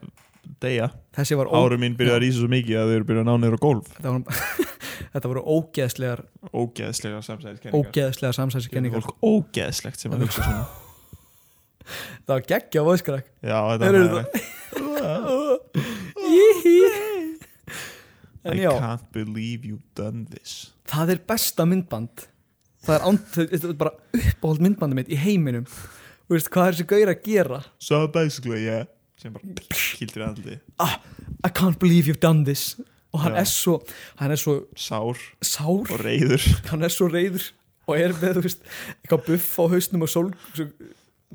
Speaker 3: deyja
Speaker 2: þessi var ó,
Speaker 3: Árum mín byrjaði að rísa svo mikið að þau eru byrjaði að ná niður á gólf
Speaker 2: þetta var, þetta voru ógeðslegar
Speaker 3: ógeðslega samsæðiskenningar
Speaker 2: ógeðslegar samsæðiskenningar
Speaker 3: fólk ógeðslegt sem að hugsa svona
Speaker 2: það var geggja voðskrak
Speaker 3: já, þetta
Speaker 2: Þeir
Speaker 3: er
Speaker 2: eru
Speaker 3: nægilegt
Speaker 2: en
Speaker 3: I
Speaker 2: já,
Speaker 3: can't believe you've done this
Speaker 2: það er besta myndband það er, and, þetta er bara uppáhald myndbandum mitt í heiminum og veist hvað er þessi gaur að gera
Speaker 3: so basically, yeah sem bara kildir andli
Speaker 2: ah, I can't believe you've done this og hann
Speaker 3: Já.
Speaker 2: er svo hann er svo
Speaker 3: sár
Speaker 2: sár
Speaker 3: og reyður
Speaker 2: hann er svo reyður og er með þú veist, eitthvað buff á hausnum og sól svo,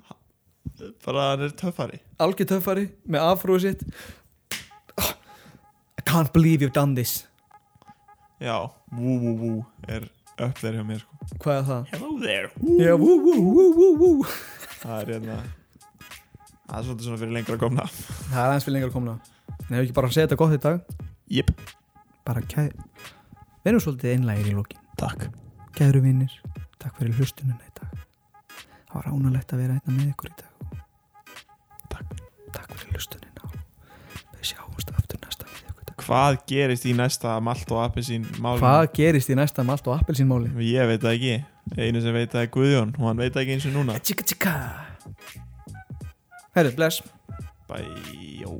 Speaker 3: bara hann er töffari
Speaker 2: algjör töffari með afrúið sitt Ah, I can't believe you've done this
Speaker 3: já, wú wú wú er upp þeir hjá mér sko.
Speaker 2: hvað er það?
Speaker 3: hello there
Speaker 2: Yeah, woo, woo, woo, woo, woo.
Speaker 3: það er hérna það er svolítið svona fyrir lengra komna
Speaker 2: það er aðeins fyrir lengra komna en hefur ekki bara að segja þetta gott í dag
Speaker 3: jip,
Speaker 2: bara kæ verðum svolítið einlægir í lokin
Speaker 3: takk
Speaker 2: Kæru vinnir, takk fyrir hlustununa í dag. Það var ánalegt að vera einna með ykkur í dag. Takk. Takk fyrir hlustunina og við sjáumst aftur næsta með ykkur dag.
Speaker 3: hvað gerist í næsta malt og appelsín mál
Speaker 2: Hvað gerist í næsta malt og appelsínmáli?
Speaker 3: ég veit það ekki, einu sem veit það er Guðjón og hann veit það ekki eins og núna
Speaker 2: Tjika tjika! Herri, bless.
Speaker 3: bæjó